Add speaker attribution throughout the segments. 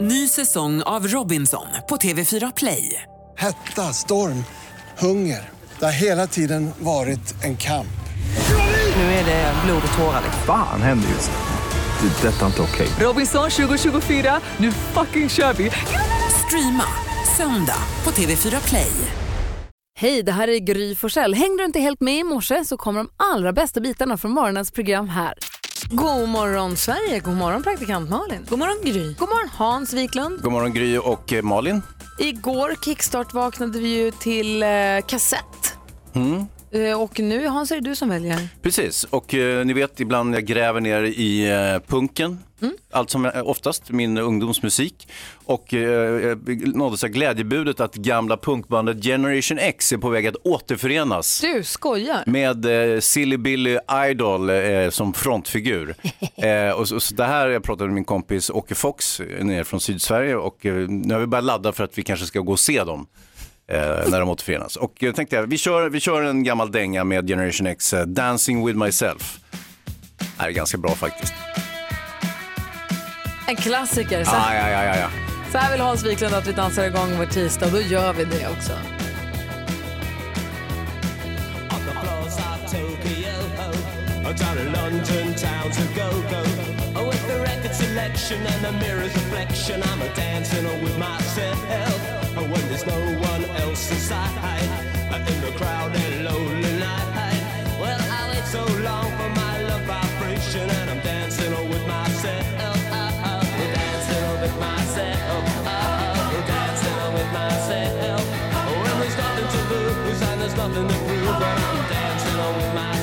Speaker 1: Ny säsong av Robinson på TV4 Play.
Speaker 2: Hetta, storm, hunger. Det har hela tiden varit en kamp.
Speaker 1: Nu är det blod och tårar.
Speaker 3: Fan händer just nu. Det. är Detta är inte okej.
Speaker 1: Robinson 2024, nu fucking kör vi! Streama söndag på TV4 Play.
Speaker 4: Hej, det här är Gry Forssell. Hängde du inte helt med i morse så kommer de allra bästa bitarna från morgonens program här. God morgon Sverige, god morgon praktikant Malin. God morgon Gry. God morgon Hans Wiklund.
Speaker 5: God morgon Gry och eh, Malin.
Speaker 4: Igår kickstart vaknade vi ju till eh, kassett. Eh, och nu Hans är det du som väljer.
Speaker 5: Precis, och eh, ni vet ibland jag gräver ner i eh, punken. Allt som eh, oftast, min ungdomsmusik. Och eh, jag nåddes av glädjebudet att gamla punkbandet Generation X är på väg att återförenas.
Speaker 4: Du skojar.
Speaker 5: Med eh, Silly Billy Idol eh, som frontfigur. eh, och så, så det här jag pratade med min kompis Åke Fox eh, nere från Sydsverige och eh, nu har vi börjat ladda för att vi kanske ska gå och se dem. eh, när de återförenas. Och jag tänkte jag, vi kör, vi kör en gammal dänga med Generation X, eh, Dancing with myself. Det här är ganska bra faktiskt.
Speaker 4: En klassiker. Så,
Speaker 5: Ah, ja, ja, ja, ja.
Speaker 4: så här vill Hans Wiklund att vi dansar igång vår tisdag och då gör vi det också.
Speaker 6: Down to London, towns of go-go Oh, with the record selection and the mirror's reflection I'm a dancing all with myself And when there's no one else inside In the crowd and lonely night Well, I wait so long for my love vibration And I'm dancing all with myself Oh, oh, dancing all with myself Oh, oh, dancing all with myself Oh, when there's nothing to lose and there's nothing to prove But I'm dancing all with myself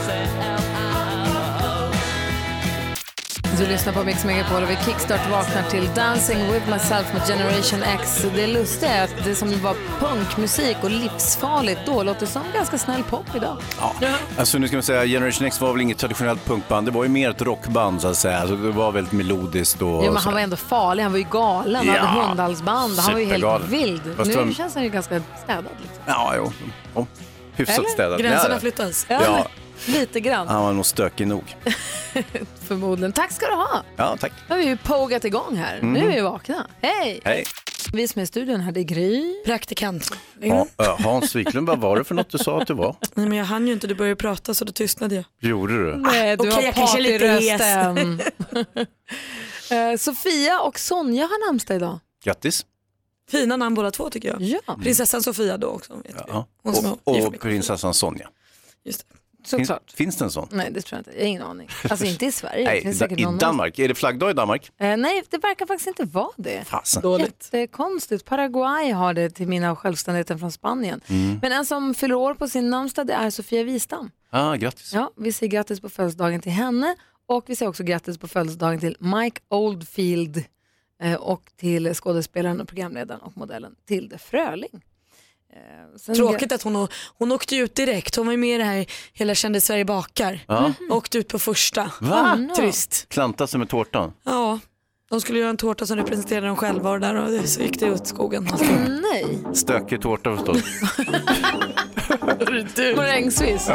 Speaker 4: Du lyssnar på Mix Megapol och vi kickstart vaknar till Dancing with myself med Generation X. Det lustiga är att det som var punkmusik och livsfarligt då låter som ganska snäll pop idag.
Speaker 5: Ja. Alltså nu ska man säga, Generation X var väl inget traditionellt punkband, det var ju mer ett rockband så att säga. Alltså, det var väldigt melodiskt och
Speaker 4: Ja, men
Speaker 5: så.
Speaker 4: han var ändå farlig, han var ju galen,
Speaker 5: Ja.
Speaker 4: hade hundhalsband, han var ju helt
Speaker 5: Supergalen.
Speaker 4: vild.
Speaker 5: Fast
Speaker 4: nu
Speaker 5: de-
Speaker 4: känns han ju ganska städad. Liksom.
Speaker 5: Ja, jo. jo. Hyfsat
Speaker 4: Eller?
Speaker 5: städat.
Speaker 7: Gränserna
Speaker 5: Ja,
Speaker 7: flyttas.
Speaker 5: Ja,
Speaker 4: Lite grann
Speaker 5: han var nog stökig nog.
Speaker 4: förmodligen. Tack ska du ha.
Speaker 5: Ja, tack.
Speaker 4: Nu har vi ju pogat igång här.
Speaker 5: Mhm.
Speaker 4: Nu är vi vakna. Hej!
Speaker 5: Hej.
Speaker 4: Vi som är i studion här, det är Gry.
Speaker 7: Praktikant.
Speaker 5: Ha, ö, eh, Hans Wiklund, vad var det för något du sa att det var?
Speaker 7: Nej, men jag hann ju inte, du började prata så då tystnade jag.
Speaker 5: Gjorde du?
Speaker 4: Nej, Eh, du
Speaker 7: Ah, okej,
Speaker 4: har
Speaker 7: jag kanske är lite
Speaker 4: partyrösten. Eh, Sofia och Sonja har namnsdag idag.
Speaker 5: Grattis.
Speaker 7: Fina namn båda två tycker jag.
Speaker 4: Ja,
Speaker 5: Mm.
Speaker 7: Prinsessan Sofia då också. Vet vi.
Speaker 5: Ja.
Speaker 7: Hon som
Speaker 5: Och,
Speaker 7: är-
Speaker 5: och prinsessan Sonja.
Speaker 7: Just det.
Speaker 5: Finns,
Speaker 4: såklart.
Speaker 5: finns det en sån?
Speaker 4: Nej, det tror jag inte. Jag har ingen aning. Alltså inte i Sverige. det
Speaker 5: Nej,
Speaker 4: finns
Speaker 5: da-
Speaker 4: säkert
Speaker 5: i
Speaker 4: någon
Speaker 5: Danmark. Är det flaggdag i Danmark?
Speaker 4: Eh, nej, det verkar faktiskt inte vara det.
Speaker 5: Fasen.
Speaker 4: Jättekonstigt. Paraguay har det till mina och självständigheten från Spanien.
Speaker 5: Mm.
Speaker 4: Men en som fyller år på sin namnsdag det är Sofia Wistam.
Speaker 5: Ah, grattis.
Speaker 4: Ja, vi säger grattis på födelsedagen till henne och vi säger också grattis på födelsedagen till Mike Oldfield eh, och till skådespelaren och programledaren och modellen Tilde Fröling. Eh, sen-
Speaker 7: Tråkigt att hon, å- hon åkte ju ut direkt. Hon var ju med i det här Hela Kände Sverige bakar.
Speaker 5: Ja.
Speaker 7: Åkte ut på första.
Speaker 5: Va?
Speaker 4: no.
Speaker 7: Trist.
Speaker 5: Klanta sig med tårtan.
Speaker 7: Ja. De skulle göra en tårta som representerade dem själva och, där, och det- så gick det åt skogen.
Speaker 4: Nej,
Speaker 5: Stökig tårta förstås.
Speaker 4: Morängsviss.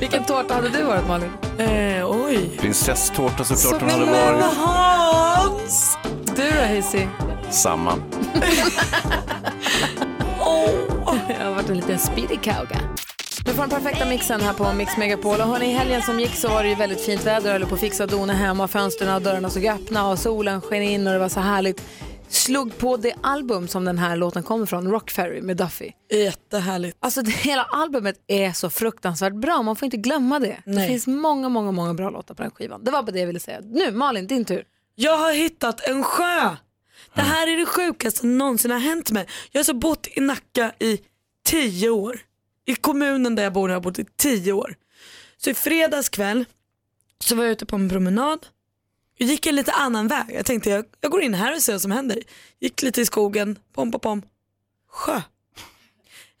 Speaker 4: Vilken tårta hade du varit Malin?
Speaker 7: Eh, oj.
Speaker 5: Prinsesstårta såklart hon
Speaker 4: Så
Speaker 5: hade
Speaker 4: men-
Speaker 5: varit.
Speaker 7: Hans!
Speaker 4: Du då Hayesy?
Speaker 5: Samma.
Speaker 4: Jag har varit en liten speedy kauga. Du får den perfekta mixen här på Mix Megapol. Och hörni, i helgen som gick så var det ju väldigt fint väder. Jag höll på att fixa och dona hemma. Fönstren och dörrarna såg öppna och solen sken in och det var så härligt. Slog på det album som den här låten kommer från, Rock Ferry med Duffy.
Speaker 7: Jättehärligt.
Speaker 4: Alltså det, hela albumet är så fruktansvärt bra, man får inte glömma det. Det
Speaker 7: Nej.
Speaker 4: finns många, många, många bra låtar på den skivan. Det var bara det jag ville säga. Nu Malin, din tur.
Speaker 7: Jag har hittat en sjö. Det här är det sjukaste som någonsin har hänt mig. Jag har alltså bott i Nacka i tio år. I kommunen där jag bor har jag bott i tio år. Så i fredags kväll så var jag ute på en promenad. Jag gick en lite annan väg. Jag tänkte jag, jag går in här och ser vad som händer. Gick lite i skogen, pom pom pom. Sjö.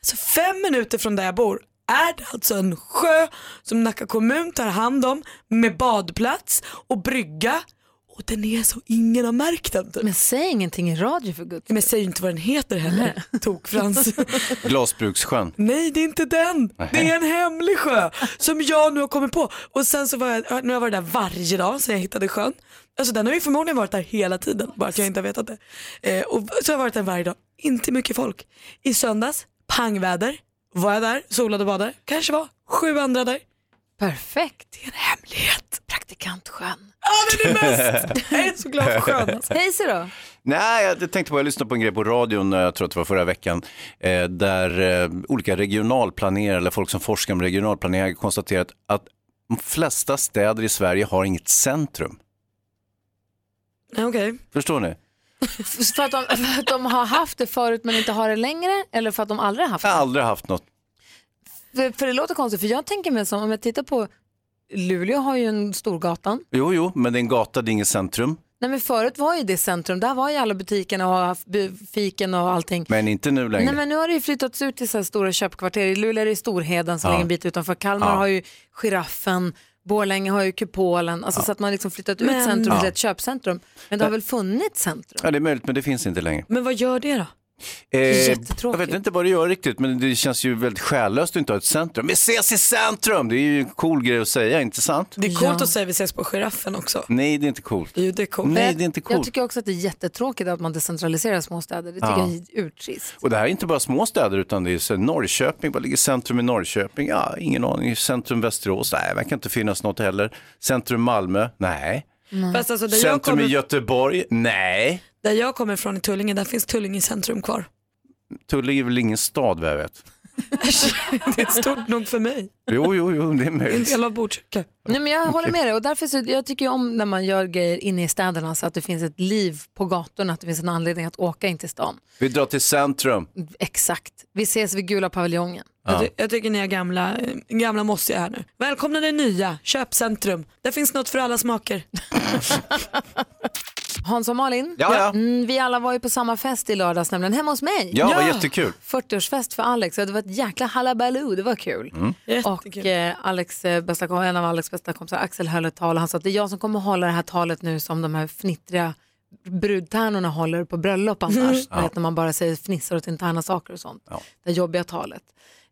Speaker 7: Så fem minuter från där jag bor är det alltså en sjö som Nacka kommun tar hand om med badplats och brygga och den är så ingen har märkt den. typ.
Speaker 4: Men säg ingenting i radio för guds
Speaker 7: Men säg ju inte vad den heter heller, Tok-Frans.
Speaker 5: Glasbrukssjön.
Speaker 7: Nej, det är inte den. Det är en hemlig sjö som jag nu har kommit på. Och sen så var jag, nu har jag varit där varje dag sen jag hittade sjön. Alltså den har ju förmodligen varit där hela tiden, bara att jag inte har vetat det. Eh, och så har jag varit där varje dag, inte mycket folk. I söndags, pangväder, var jag där, solade och badade, kanske var sju andra där.
Speaker 4: Perfekt.
Speaker 7: Det är en hemlighet.
Speaker 4: Praktikantsjön.
Speaker 7: Ja men det är bäst! Jag är så glad för sjön alltså.
Speaker 4: Hejse då.
Speaker 5: Nej, jag tänkte på, jag lyssnade på en grej på radion, eh, jag tror att det var förra veckan, eh, där eh, olika regionalplanerare, eller folk som forskar om regionalplanering, har konstaterat att de flesta städer i Sverige har inget centrum.
Speaker 7: Nej, Okej,
Speaker 5: Förstår ni?
Speaker 4: För att, de, för att de har haft det förut men inte har det längre eller för att de aldrig har haft
Speaker 5: Jag har
Speaker 4: det?
Speaker 5: aldrig haft något.
Speaker 4: För, för det låter konstigt för jag tänker mig som om jag tittar på Luleå har ju en Storgatan.
Speaker 5: Jo, jo, men det är en gata, det är inget centrum.
Speaker 4: Nej men förut var ju det centrum, där var ju alla butikerna och haft bu- fiken och allting.
Speaker 5: Men inte nu längre.
Speaker 4: Nej men nu har det ju flyttats ut till så här stora köpkvarter. I Luleå är det Storheden som
Speaker 5: Ja.
Speaker 4: ligger en bit utanför. Kalmar
Speaker 5: Ja.
Speaker 4: har ju Giraffen, Borlänge har ju Kupolen. Alltså så att man liksom flyttat ut
Speaker 7: Men-
Speaker 4: centrum till
Speaker 5: Ja.
Speaker 4: ett köpcentrum. Men det har väl funnits centrum?
Speaker 5: Ja, det är möjligt, men det finns inte längre.
Speaker 7: men vad gör det då?
Speaker 5: Eh,
Speaker 4: Jättetråkigt.
Speaker 5: jag vet inte vad det gör riktigt, men det känns ju väldigt själlöst att inte ha ett centrum. Vi ses i centrum! Det är ju en cool grej att säga, inte sant?
Speaker 7: Det är coolt
Speaker 4: Ja.
Speaker 7: att säga vi ses på giraffen också.
Speaker 5: Nej, det är inte coolt.
Speaker 7: Jo det är coolt.
Speaker 5: Nej, det är inte
Speaker 4: Eh, Jag
Speaker 5: coolt.
Speaker 4: tycker också att det är jättetråkigt att man decentraliserar småstäder. Det tycker
Speaker 5: Ja.
Speaker 4: jag är urtrist.
Speaker 5: Och det här är inte bara små städer utan det är så här Norrköping, vad ligger centrum i Norrköping? Ja, ingen aning. Centrum Västerås? Nej, verkar inte finnas något heller. Centrum Malmö? Nej.
Speaker 7: Fast alltså, där jag
Speaker 5: Centrum i
Speaker 7: kommer
Speaker 5: Göteborg? Nej.
Speaker 7: Där jag kommer ifrån i Tullinge, där finns Tullinge centrum kvar.
Speaker 5: Tullinge är väl ingen stad vad jag vet.
Speaker 7: Det är stort nog för mig.
Speaker 5: Jo, jo, jo, det är
Speaker 7: Det är en
Speaker 5: möjligt.
Speaker 7: del av Botkyrka.
Speaker 4: Nej, men jag håller med dig och därför så, jag tycker ju om när man gör grejer inne i städerna så att det finns ett liv på gatorna, att det finns en anledning att åka in till stan.
Speaker 5: Vi drar till centrum.
Speaker 4: Exakt. Vi ses vid gula paviljongen.
Speaker 7: Jag, ty- jag tycker ni är gamla, eh, gamla mossiga här nu. Välkomna det nya, köpcentrum. Där finns något för alla smaker.
Speaker 4: Hans och Malin,
Speaker 5: Ja, ja.
Speaker 4: Mm, vi alla var ju på samma fest i lördags, nämligen hemma hos mig.
Speaker 5: Ja, vad jättekul.
Speaker 4: 40-årsfest för Alex och det var ett jäkla halabaloo, det var kul.
Speaker 5: Mm.
Speaker 4: Och
Speaker 7: Jättekul.
Speaker 4: eh, Alex, eh, bästa, kom- en av Alex bästa kompisar, Axel höll ett tal och han sa att det är jag som kommer hålla det här talet nu som de här fnittriga brudtärnorna håller på bröllop annars. Du Vet, när man bara säger fnissar åt interna saker och sånt.
Speaker 5: Ja.
Speaker 4: Det jobbiga talet.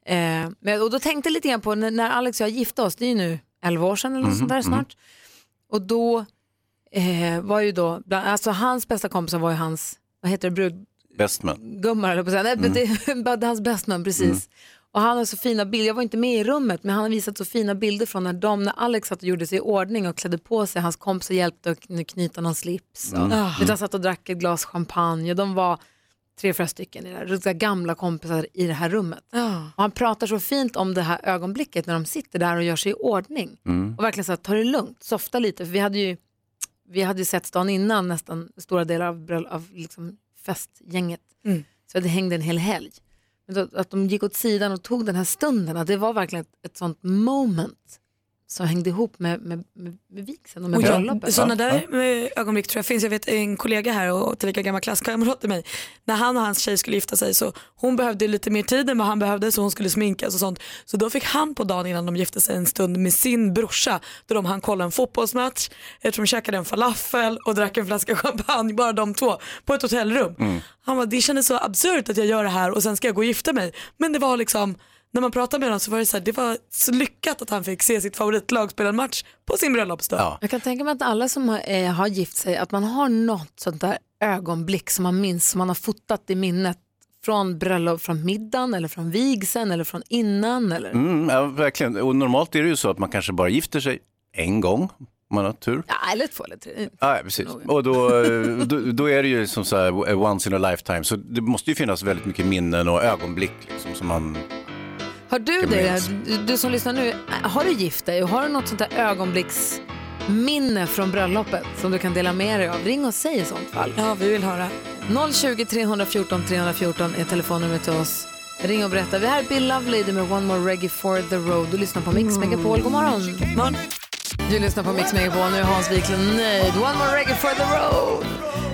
Speaker 4: Eh, men, och då tänkte jag lite grann på när, när Alex och jag gifte oss, det är ju nu 11 år sedan eller något sånt där snart. Och då eh, var ju då, bland, alltså hans bästa kompisar var ju hans, vad heter det, brud,
Speaker 5: Västman.
Speaker 4: gummar eller på att säga. Nej, men det, det är hans bästman, precis. Och han har så fina bilder, jag var inte med i rummet, men han har visat så fina bilder från när de, när Alex satt och gjorde sig i ordning och klädde på sig, hans kompisar hjälpte att kny- knyta någon slips. Och, vet, han satt och drack ett glas champagne och de var tre, fyra stycken, i det här, så här gamla kompisar i det här rummet. Och han pratar så fint om det här ögonblicket när de sitter där och gör sig i ordning. Och verkligen så här, ta det lugnt, softa lite, för vi hade ju vi hade ju sett dagen innan nästan stora delar av, bröll- av liksom festgänget. Så det hängde en hel helg. Men då, att de gick åt sidan och tog den här stunden, att det var verkligen ett, ett sånt moment som hängde ihop med, med, med, med vigseln och med
Speaker 7: Och
Speaker 4: bröllopet.
Speaker 7: jag, sådana där eh, ögonblick tror jag finns. Jag vet en kollega här och tillika gammal klasskamrat till mig. När han och hans tjej skulle gifta sig så hon behövde lite mer tid än vad han behövde så hon skulle sminkas och sånt. Så då fick han på dagen innan de gifte sig en stund med sin brorsa då de hann kolla en fotbollsmatch. Jag tror de käkade en falafel och drack en flaska champagne, bara de två, på ett hotellrum. Han bara, det kändes så absurt att jag gör det här och sen ska jag gå och gifta mig. Men det var liksom när man pratade med honom så var det så här, det var så lyckat att han fick se sitt favoritlag spela en match på sin bröllopsdag.
Speaker 5: Ja.
Speaker 4: Jag kan tänka mig att alla som har, eh, har gift sig, att man har något sånt där ögonblick som man minns, som man har fotat i minnet från bröllop, från middagen eller från vigseln eller från innan. Eller.
Speaker 5: Mm, ja, verkligen. Och normalt är det ju så att man kanske bara gifter sig en gång, om man har tur.
Speaker 4: Ja, eller två eller tre.
Speaker 5: Ja, ja, precis. Och då, eh, då, då är det ju som så här eh, once in a lifetime. Så det måste ju finnas väldigt mycket minnen och ögonblick liksom, som man...
Speaker 4: Har du
Speaker 5: Vilken
Speaker 4: det, du som lyssnar nu, har du gift dig och har du något sånt där ögonblicksminne från bröllopet som du kan dela med dig av? Ring och säg i sånt fall.
Speaker 7: Ja, vi vill höra.
Speaker 4: 020 314 314 är telefonnumret till oss. Ring och berätta. Vi är här Bill Lovelady med One More Reggae for the Road. Du lyssnar på Mix
Speaker 7: Mm.
Speaker 4: Megapol. God morgon.
Speaker 7: Man,
Speaker 4: Du lyssnar på Mix Megapol. Nu är Hans Wiklund nöjd. One More Reggae for the Road.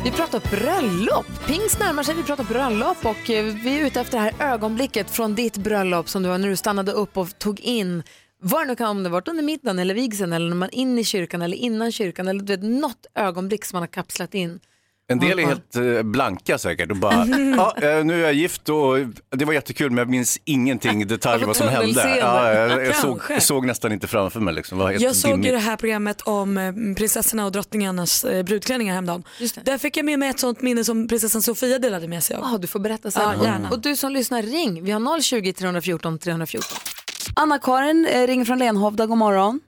Speaker 4: Vi pratar bröllop. Pings närmar sig. Vi pratar bröllop och eh, vi är ute efter det här ögonblicket från ditt bröllop som du var när du stannade upp och tog in
Speaker 8: Var det nu kan, om det varit under middagen eller vigseln eller när man är inne i kyrkan eller innan kyrkan eller du vet, något ögonblick som man har kapslat in.
Speaker 5: En del är helt eh, blanka säkert och bara, ja, eh, nu är jag gift och det var jättekul men jag minns ingenting i detalj
Speaker 8: Jag
Speaker 5: vad
Speaker 8: får
Speaker 5: som hände.
Speaker 8: tunnelseende.
Speaker 5: Ja, jag, jag,
Speaker 7: Kanske.
Speaker 5: såg, jag såg nästan inte framför mig liksom. Det var helt
Speaker 7: Jag såg ju
Speaker 5: dimmigt.
Speaker 7: det här programmet om eh, prinsessorna och drottningarnas eh, brudklänningar häromdagen.
Speaker 8: Just det.
Speaker 7: Där fick jag med mig ett sånt minne som prinsessan Sofia delade med sig av.
Speaker 8: Ah, du får berätta sen.
Speaker 7: Ja, gärna.
Speaker 8: Och du som lyssnar, ring. Vi har 020 314 314. Anna-Karin eh, ringer från Lenhovda, god morgon.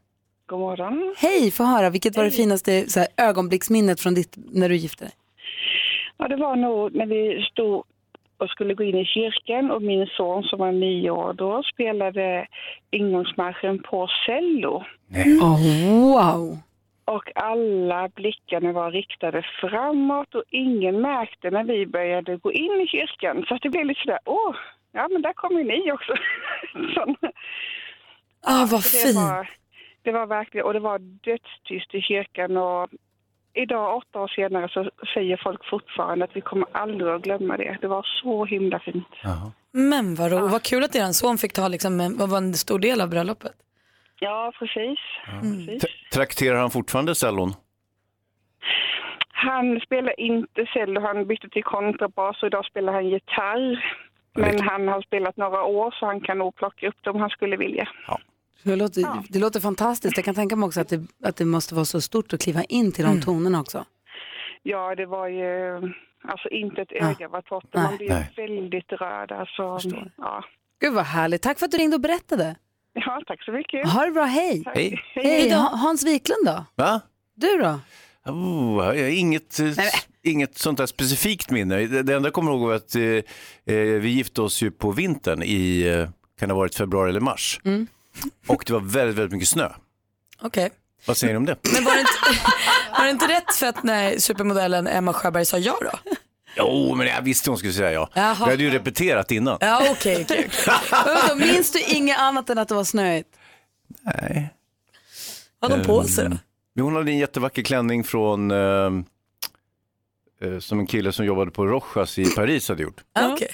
Speaker 9: God morgon.
Speaker 8: Hej, få höra, vilket var det finaste så här, ögonblicksminnet från ditt, när du gifte dig?
Speaker 9: Ja, det var nog när vi stod och skulle gå in i kyrkan och min son som var nio år då spelade ingångsmarschen på cello.
Speaker 8: wow!
Speaker 9: Och alla blickarna var riktade framåt och ingen märkte när vi började gå in i kyrkan. Så att det blev lite sådär, åh, ja men där kommer ju ni också. Sån-
Speaker 7: Ah, vad
Speaker 9: Så det,
Speaker 7: fint.
Speaker 9: var, det var verkligen, och det var dödstyst i kyrkan och idag åtta år senare så säger folk fortfarande att vi kommer aldrig att glömma det. Det var så himla fint.
Speaker 7: Men vad
Speaker 4: Ah.
Speaker 7: roligt. Vad kul att er son fick ta liksom, en, vad var en stor del av bröllopet.
Speaker 9: Ja, precis. precis.
Speaker 5: Tra- Trakterar han fortfarande cellon?
Speaker 9: Han spelar inte cello, han bytte till kontrabas och idag spelar han gitarr. Men han har spelat några år så han kan nog plocka upp det om han skulle vilja.
Speaker 4: Det låter, det låter fantastiskt. Jag kan tänka mig också att det, att det måste vara så stort att kliva in till de tonerna också.
Speaker 9: Ja, det var ju... Alltså inte ett öga var torrt. Man blir ju väldigt rörd. Alltså, ja.
Speaker 4: Gud vad härligt. Tack för att du ringde och berättade.
Speaker 9: ja, tack så mycket.
Speaker 4: Ha det bra, hej.
Speaker 5: Hej.
Speaker 4: Mm. Hej, Ha- Hans Wiklund då?
Speaker 5: Va?
Speaker 4: Du då?
Speaker 5: Oh, jag har inget, eh, inget sånt där specifikt minne. Det det enda jag kommer ihåg var att eh, eh, vi gifte oss ju på vintern i, eh, kan det ha varit februari eller mars. Och det var väldigt, väldigt mycket snö.
Speaker 7: Okej.
Speaker 5: Vad säger ni om det?
Speaker 7: Men var det, inte, var det inte rätt fett när supermodellen Emma Sjöberg sa ja då?
Speaker 5: Jo, men jag visste hon skulle säga ja.
Speaker 7: Jaha.
Speaker 5: Jag hade ju repeterat innan.
Speaker 7: Ja okej. Okay,
Speaker 4: Då minns du inget annat än att det var snöigt?
Speaker 5: Nej.
Speaker 7: Vad hade hon på sig
Speaker 4: Mm.
Speaker 7: då?
Speaker 5: Men Hon hade en jättevacker klänning från eh, eh, som en kille som jobbade på Rochas i Paris hade gjort.
Speaker 7: Ja, okej.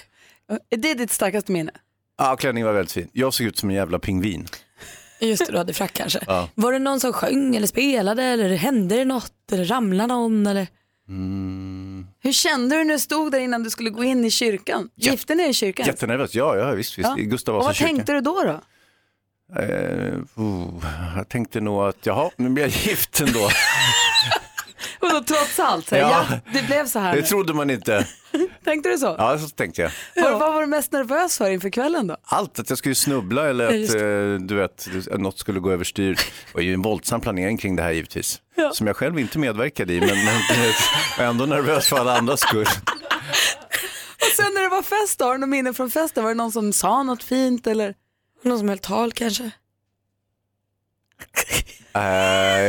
Speaker 4: Är Eh, det ditt starkaste minne?
Speaker 5: Ja, klänningen var väldigt fin. Jag såg ut som en jävla pingvin.
Speaker 7: Just det, du hade frack kanske.
Speaker 5: Ja.
Speaker 7: Var det någon som sjöng eller spelade eller hände det något eller ramlade någon eller?
Speaker 4: Hur kände du när du stod där innan du skulle gå in i kyrkan? Gifte ni er i kyrkan?
Speaker 5: Jättenervös. Ja, ja visst. visst.
Speaker 4: Ja.
Speaker 5: I Gustav
Speaker 4: Och
Speaker 5: Vasa
Speaker 4: vad
Speaker 5: kyrka.
Speaker 4: tänkte du då? då?
Speaker 5: Eh, oh, jag tänkte nog att, jaha, nu blir jag gift ändå.
Speaker 4: Och då, trots allt, så här,
Speaker 5: Ja.
Speaker 4: ja. det blev så här.
Speaker 5: Det
Speaker 4: nu.
Speaker 5: trodde man inte.
Speaker 4: Tänkte du så?
Speaker 5: Ja, så tänkte jag.
Speaker 4: Vad, vad var du mest nervös för inför kvällen då?
Speaker 5: Allt, att jag skulle snubbla eller att eh, du vet, att något skulle gå överstyr. Det var ju en våldsam planering kring det här givetvis. Som jag själv inte medverkade i, men, men jag var ändå nervös för alla andras skull.
Speaker 4: Sen när det var fest då, har du några minnen från festen? Var det någon som sa något fint eller?
Speaker 7: Någon som höll tal kanske?
Speaker 5: Eh,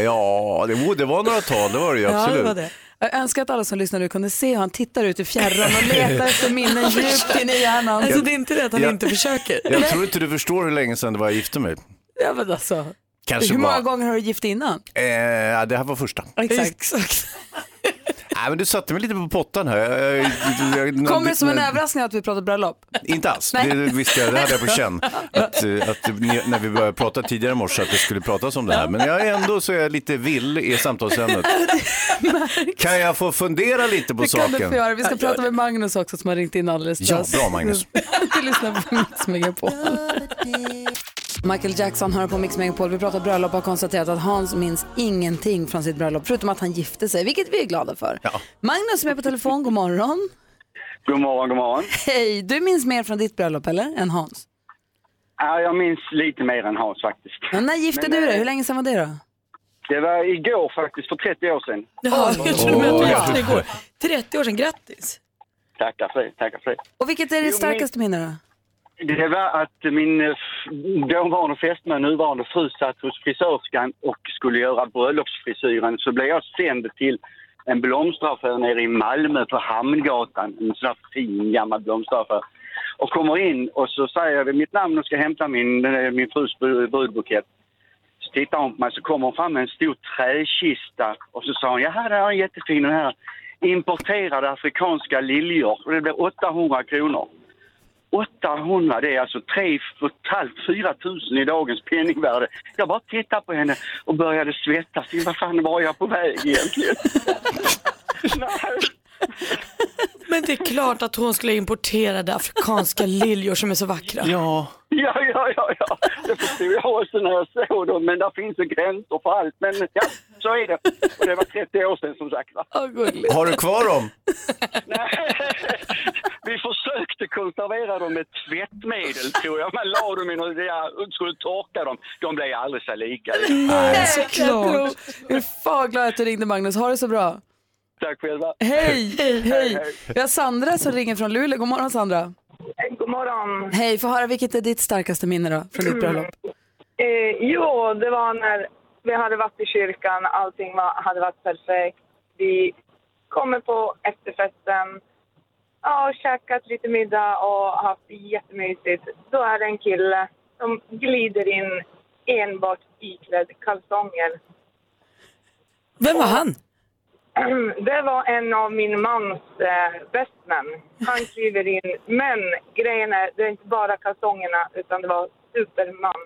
Speaker 5: ja, det, oh, det var några tal, det var det ju absolut.
Speaker 7: Ja, det var det.
Speaker 4: Jag önskar att alla som lyssnar nu kunde se hur han tittar ut i fjärran och letar efter minnen djupt in i hjärnan.
Speaker 7: Alltså det är inte det att han
Speaker 5: Ja.
Speaker 7: inte försöker.
Speaker 5: Jag tror inte du förstår hur länge sedan det var jag gifte mig.
Speaker 4: Ja, men alltså,
Speaker 5: Kanske
Speaker 4: hur många
Speaker 5: bara,
Speaker 4: gånger har du gift innan?
Speaker 5: eh, ja, det här var första.
Speaker 7: Exakt.
Speaker 5: Nej, men du satte mig lite på pottan här. Jag, jag, jag,
Speaker 4: Kommer det som en överraskning att vi pratar bröllop?
Speaker 5: Inte alls, det visste jag, det hade jag på känn. Att, eh, att ni- när vi började prata tidigare i morse att det skulle pratas om det här. Men jag är ändå så är jag lite vill i samtalsämnet. Kan jag få fundera lite på
Speaker 4: Det kan du
Speaker 5: saken?
Speaker 4: få göra. Vi ska prata med Magnus också som har ringt in alldeles
Speaker 5: Ja,
Speaker 4: strax.
Speaker 5: bra Magnus.
Speaker 4: Du lyssnar på Mix Megapol. Michael Jackson hör på Mix Megapol. Vi pratar bröllop och har konstaterat att Hans minns ingenting från sitt bröllop, förutom att han gifte sig, vilket vi är glada för.
Speaker 5: Ja.
Speaker 4: Magnus som är på telefon, god morgon.
Speaker 10: God morgon, god morgon.
Speaker 4: Hej, du minns mer från ditt bröllop eller? Än Hans?
Speaker 10: Ja, jag minns lite mer än Hans faktiskt.
Speaker 4: Ja, när gifte
Speaker 10: Men,
Speaker 4: du dig?
Speaker 10: eh,
Speaker 4: Hur länge sedan var det då?
Speaker 10: Det var igår faktiskt, för 30 år sedan.
Speaker 7: Ja, jag trodde med att du gifte dig igår. 30 år sedan, grattis.
Speaker 10: Tackar för det, tackar för det.
Speaker 4: Och vilket är ditt
Speaker 10: Jo,
Speaker 4: starkaste minne då?
Speaker 10: Det var att min eh, f- dåvarande fästmö, nuvarande fru, satt hos frisörskan och skulle göra bröllopsfrisyren. Så blev jag sänd till en blomsteraffär nere i Malmö på Hamngatan. En sån här fin gammal blomsteraffär. Och kommer in och så säger jag mitt namn och ska hämta min, eh, min frus bru- brudbukett. Så tittar hon på mig så kommer hon fram med en stor träkista och så sa hon, jaha det här är jättefin den här importerade afrikanska liljor och det blir 800 kronor. 800, det är alltså 3 4 000 i dagens penningvärde. Jag bara tittade på henne och började svettas. Vad fan var jag på väg egentligen?
Speaker 7: Men det är klart att hon skulle importera det afrikanska liljor som är så vackra.
Speaker 5: Ja.
Speaker 10: Ja, ja, ja, ja. det förstod jag också när jag såg dem, men där finns ju gränser för allt. Men ja, så är det. Och det var 30 år sedan som sagt. va?
Speaker 5: Har du kvar dem?
Speaker 10: Vi försökte konservera dem med tvättmedel tror jag. Man la dem i något, ja, skulle torka dem. De blev aldrig så lika.
Speaker 4: Nej, såklart. Jag är fan glad att du ringde Magnus. Ha det så bra.
Speaker 10: Tack själva.
Speaker 4: Hej, hej. Vi har Sandra som ringer från Luleå. God morgon Sandra.
Speaker 11: God morgon.
Speaker 4: Hej, få höra vilket är ditt starkaste minne då från ditt bröllop?
Speaker 11: Eh, jo, det var när vi hade varit i kyrkan, allting var, hade varit perfekt. Vi kommer på efterfesten, ja, och käkat lite middag och haft jättemysigt. Då är det en kille som glider in enbart iklädd kalsonger.
Speaker 7: Vem var han?
Speaker 11: Det var en av min mans eh, bästmän. Han kliver in. Men grejen är, det är inte bara kalsongerna utan det var Superman.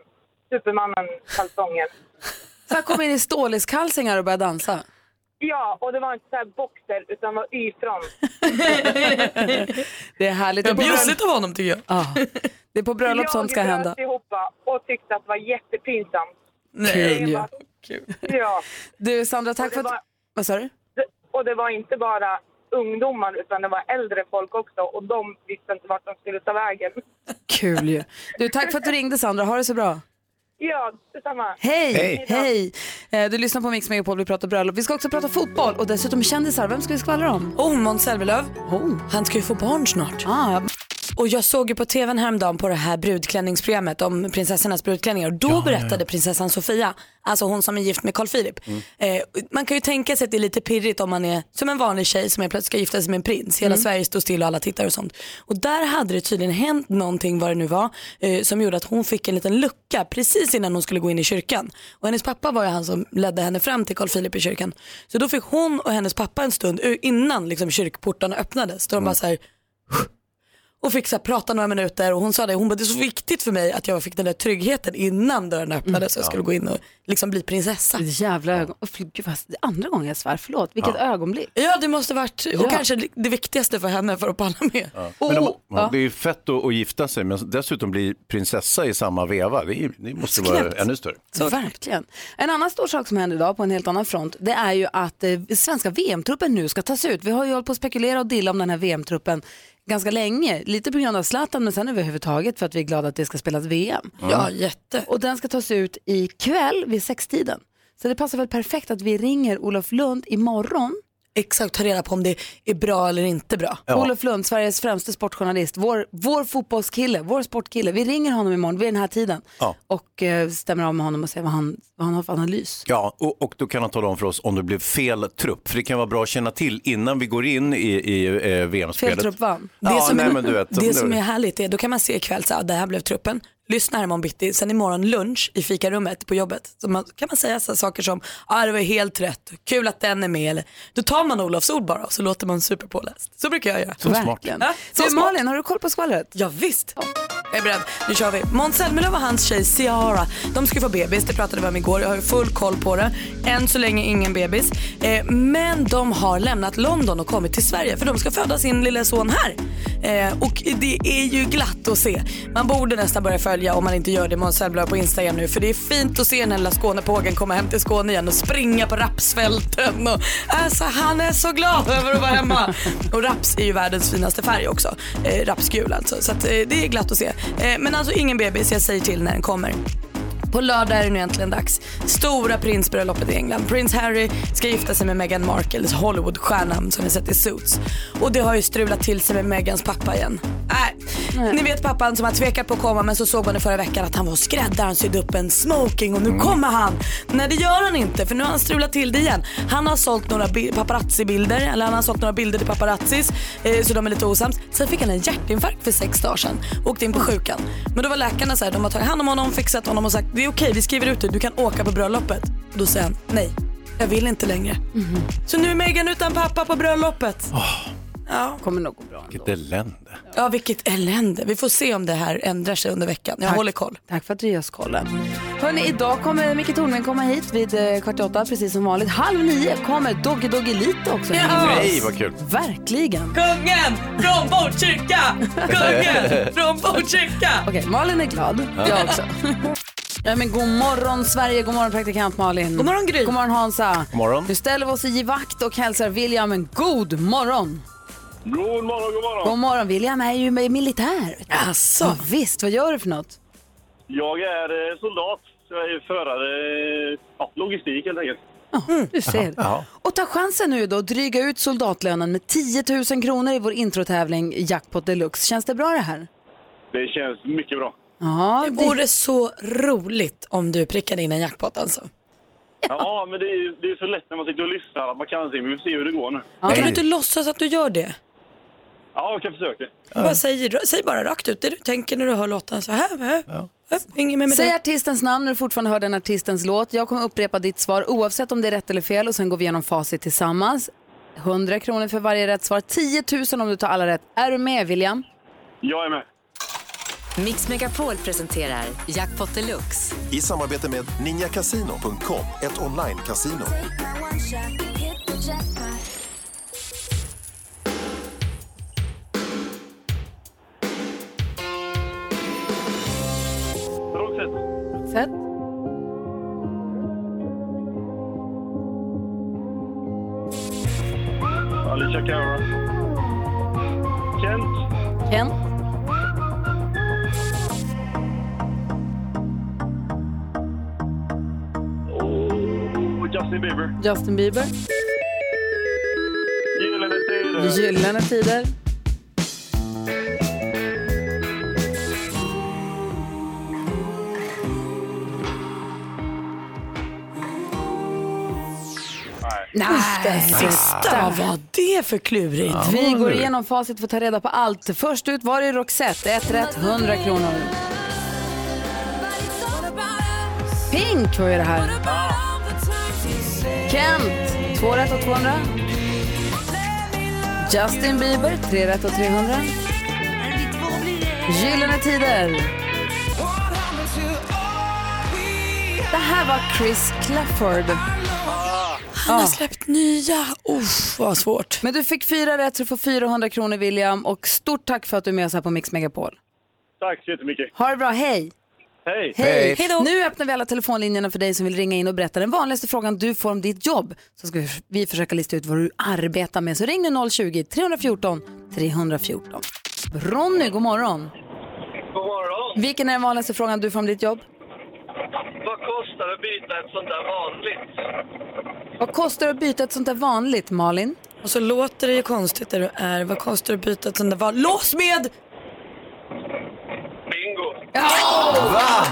Speaker 11: Supermannen kalsonger.
Speaker 4: Så han kom in i ståliskalsingar och började dansa.
Speaker 11: Ja, och det var inte så här boxer utan det var Y-front.
Speaker 4: Det är härligt.
Speaker 11: Det är
Speaker 4: Det är på
Speaker 11: bjussigt
Speaker 4: bröll-
Speaker 7: av honom tycker jag.
Speaker 4: Ja. Det är på bröllop sånt ska
Speaker 11: Jag
Speaker 4: hända.
Speaker 11: bröt ihop och tyckte att det var jättepinsamt.
Speaker 4: Kul ju.
Speaker 11: Ja.
Speaker 4: Du Sandra, tack
Speaker 11: Och det
Speaker 4: för att...
Speaker 11: var-
Speaker 4: Vad sa du?
Speaker 11: Och det var inte bara ungdomar utan det var äldre folk också och de visste inte vart de skulle ta vägen.
Speaker 4: Kul ju. Du, tack för att du ringde Sandra. Ha det så bra.
Speaker 11: Ja, detsamma.
Speaker 4: Hej!
Speaker 11: Hej
Speaker 4: Hej!
Speaker 11: då.
Speaker 4: Eh, Du lyssnar på Mix Megapol, vi pratar bröllop. Vi ska också prata fotboll och dessutom kändisar. Vem ska vi skvallra om?
Speaker 7: Oh, Måns Zelmerlöw. Han ska ju få barn snart. Och jag såg ju på tvn häromdagen på det här brudklänningsprogrammet om prinsessornas brudklänningar och då berättade prinsessan Sofia, alltså hon som är gift med Carl Philip. Eh, man kan ju tänka sig att det är lite pirrigt om man är som en vanlig tjej som är plötsligt ska gifta sig med en prins. Hela
Speaker 12: Mm.
Speaker 7: Sverige står still och alla tittar och sånt. Och där hade det tydligen hänt någonting, vad det nu var, eh, som gjorde att hon fick en liten lucka precis innan hon skulle gå in i kyrkan. Och hennes pappa var ju han som ledde henne fram till Carl Philip i kyrkan. Så då fick hon och hennes pappa en stund eh, innan liksom, kyrkportarna öppnades. Då de bara så här, och fick så här, prata några minuter och hon sa det, hon bara, det är så viktigt för mig att jag fick den där tryggheten innan dörren öppnades så
Speaker 5: Mm.
Speaker 7: jag skulle gå in och liksom bli prinsessa.
Speaker 4: Jävla ögon. Oh, gud, vad... det är Andra gången jag svär, förlåt. Vilket
Speaker 7: Ja.
Speaker 4: ögonblick.
Speaker 7: Ja det måste varit, och
Speaker 4: Ja.
Speaker 7: kanske det viktigaste för henne för att palla med.
Speaker 5: Men de, Oh. ja, det är ju fett att, att gifta sig men dessutom bli prinsessa i samma veva. Det, är, ju- det måste vara
Speaker 4: Knäppt.
Speaker 5: ännu större.
Speaker 4: Så verkligen. En annan stor sak som händer idag på en helt annan front, det är ju att eh, svenska VM-truppen nu ska tas ut. Vi har ju hållit på att spekulera och dilla om den här VM-truppen ganska länge. Lite på grund av Zlatan men sen överhuvudtaget för att vi är glada att det ska spelas VM.
Speaker 7: Mm. Ja, jätte.
Speaker 4: Och den ska tas ut ikväll vid sextiden. Så det passar väl perfekt att vi ringer Olof Lund imorgon.
Speaker 7: Exakt, ta reda på om det är bra eller inte bra.
Speaker 4: Ja. Olof Lund, Sveriges främste sportjournalist, vår, vår fotbollskille, vår sportkille. Vi ringer honom imorgon vid den här tiden
Speaker 5: Ja.
Speaker 4: och eh, stämmer av med honom och ser vad han, vad han har för analys.
Speaker 5: Ja, och, och då kan han tala om för oss om det blev fel trupp. För det kan vara bra att känna till innan vi går in i, i eh, VM-spelet.
Speaker 7: Fel trupp
Speaker 4: vann.
Speaker 5: Ja,
Speaker 7: det som,
Speaker 5: nej,
Speaker 7: är,
Speaker 5: men du vet,
Speaker 7: det som är härligt är, då kan man se ikväll så här, det här blev truppen. Lyssna här imorgon bitti, sen imorgon lunch i fikarummet på jobbet. Så man, kan man säga så här saker som, ah, det var helt rätt, kul att den är med. Eller, då tar man Olofs ord bara och så låter man superpåläst. Så brukar jag göra.
Speaker 4: Verkligen.
Speaker 7: Ja, så
Speaker 4: du,
Speaker 7: smart.
Speaker 4: Malin, har du koll på skvallret?
Speaker 7: Ja, visst. Jag är beredd, nu kör vi. Måns Zelmerlöw och hans tjej Ciara, de ska ju få bebis, det pratade vi om igår. Jag har ju full koll på det. Än så länge ingen bebis. Eh, men de har lämnat London och kommit till Sverige för de ska föda sin lilla son här. Eh, och det är ju glatt att se. Man borde nästan börja följa om man inte gör det Måns Zelmerlöw på Instagram nu för det är fint att se den här lilla Skånepågen komma hem till Skåne igen och springa på rapsfälten. Och, alltså han är så glad över att vara hemma. Och raps är ju världens finaste färg också. Eh, rapsgul alltså. Så att, eh, det är glatt att se. Eh, men alltså ingen bebis, jag säger till när den kommer. På lördag är det nu äntligen dags. Stora prinsbröllopet i England. Prins Harry ska gifta sig med Meghan Markles Hollywoodstjärnan som vi sett i Suits. Och det har ju strulat till sig med Meghans pappa igen. Nej. Ni vet pappan som har tvekat på att komma men så såg man i förra veckan att han var och skräddare. Han sydde upp en smoking och nu kommer han. Nej det gör han inte för nu har han strulat till det igen. Han har sålt några bi- paparazzi-bilder, eller han har sålt några bilder till paparazzis eh, så de är lite osams. Sen fick han en hjärtinfarkt för sex dagar sedan och åkte in på sjukan. Men då var läkarna så här, de har tagit hand om honom, fixat honom och sagt det är okej vi skriver ut dig, du kan åka på bröllopet. Och då säger han nej, jag vill inte längre. Så nu är Megan utan pappa på bröllopet.
Speaker 4: kommer nog gå bra.
Speaker 5: Vilket elände.
Speaker 7: Ja, vilket elände. Vi får se om det här ändrar sig under veckan. Jag
Speaker 4: Tack.
Speaker 7: håller koll.
Speaker 4: Tack för att du ger oss kollen. Hörni, idag kommer Micke Tornving komma hit vid eh, kvart i åtta, precis som vanligt. Halv nio kommer Doggy Doggy Lite också.
Speaker 7: Ja!
Speaker 5: Nej, vad kul.
Speaker 4: Verkligen.
Speaker 7: Kungen från Botkyrka! Kungen från Botkyrka!
Speaker 4: Okej, Malin är glad.
Speaker 7: Ja.
Speaker 4: Jag också. Ja, men god morgon Sverige, god morgon praktikant Malin.
Speaker 7: Mm.
Speaker 4: God morgon Gry. God morgon Hansa.
Speaker 5: God morgon.
Speaker 4: Nu ställer vi oss i givakt och hälsar William en god morgon.
Speaker 13: God morgon, god morgon.
Speaker 4: God morgon William är ju med- militär.
Speaker 7: Alltså.
Speaker 4: Ja, visst, vad gör du för något?
Speaker 13: Jag är eh, soldat. Jag är förare, eh, ja, logistik helt enkelt.
Speaker 4: Ja, du ser. Och ta chansen nu då och dryga ut soldatlönen med 10 000 kronor i vår introtävling Jackpot Deluxe. Känns det bra det här?
Speaker 13: Det känns mycket bra.
Speaker 4: Ja,
Speaker 7: det vore så roligt om du prickade in en jackpot alltså.
Speaker 13: Ja, men det är, ju- det är så lätt när man sitter och lyssnar att man kan se, men vi får se hur det går nu.
Speaker 7: Kan du inte låtsas att du gör det?
Speaker 13: Ja, jag kan försöka.
Speaker 7: Bara säg, säg bara rakt ut det du tänker när du hör låten. Så här, här. Hänger med med
Speaker 4: Säg
Speaker 7: dig.
Speaker 4: artistens namn när du fortfarande hör den artistens låt. Jag kommer upprepa ditt svar oavsett om det är rätt eller fel och sen går vi igenom facit tillsammans. 100 kronor för varje rätt svar, 10 000 om du tar alla rätt. Är du med William?
Speaker 13: Jag är med.
Speaker 14: Mix Megapol presenterar Jackpot Deluxe.
Speaker 6: I samarbete med ninjakasino.com, ett online-casino.
Speaker 4: Sätt.
Speaker 13: Alicia Cara. Kent.
Speaker 4: Ken?
Speaker 13: Och Justin Bieber.
Speaker 4: Justin Bieber?
Speaker 13: Gyllene Tider.
Speaker 4: Gyllene Tider?
Speaker 7: Nej,
Speaker 4: Sista.
Speaker 7: sista. Vad var det för klurigt?
Speaker 4: Vi går igenom facit för att ta reda på allt. Först ut var det Roxette, ett rätt, 100 kronor. Pink var ju det här. Kent, två rätt och 200. Justin Bieber, tre rätt och 300. Gyllene Tider. Det här var Chris Clafford.
Speaker 7: Han har släppt nya. Uff, vad svårt.
Speaker 4: Men du fick fyra rätt så du får 400 kronor William och stort tack för att du är med oss här på Mix Megapol.
Speaker 13: Tack så jättemycket.
Speaker 4: Ha det bra, hej!
Speaker 13: Hej!
Speaker 4: Nu öppnar vi alla telefonlinjerna för dig som vill ringa in och berätta den vanligaste frågan du får om ditt jobb. Så ska vi- vi försöka lista ut vad du arbetar med. Så ring nu 020-314 314. Ronny, god morgon.
Speaker 15: God morgon.
Speaker 4: Vilken är den vanligaste frågan du får om ditt jobb?
Speaker 15: Vad kostar det att byta ett sånt där vanligt?
Speaker 4: Vad kostar det att byta ett sånt där vanligt, Malin?
Speaker 7: Och så låter det ju konstigt där du är. Vad kostar det att byta ett sånt där val? Lås med!
Speaker 4: Va?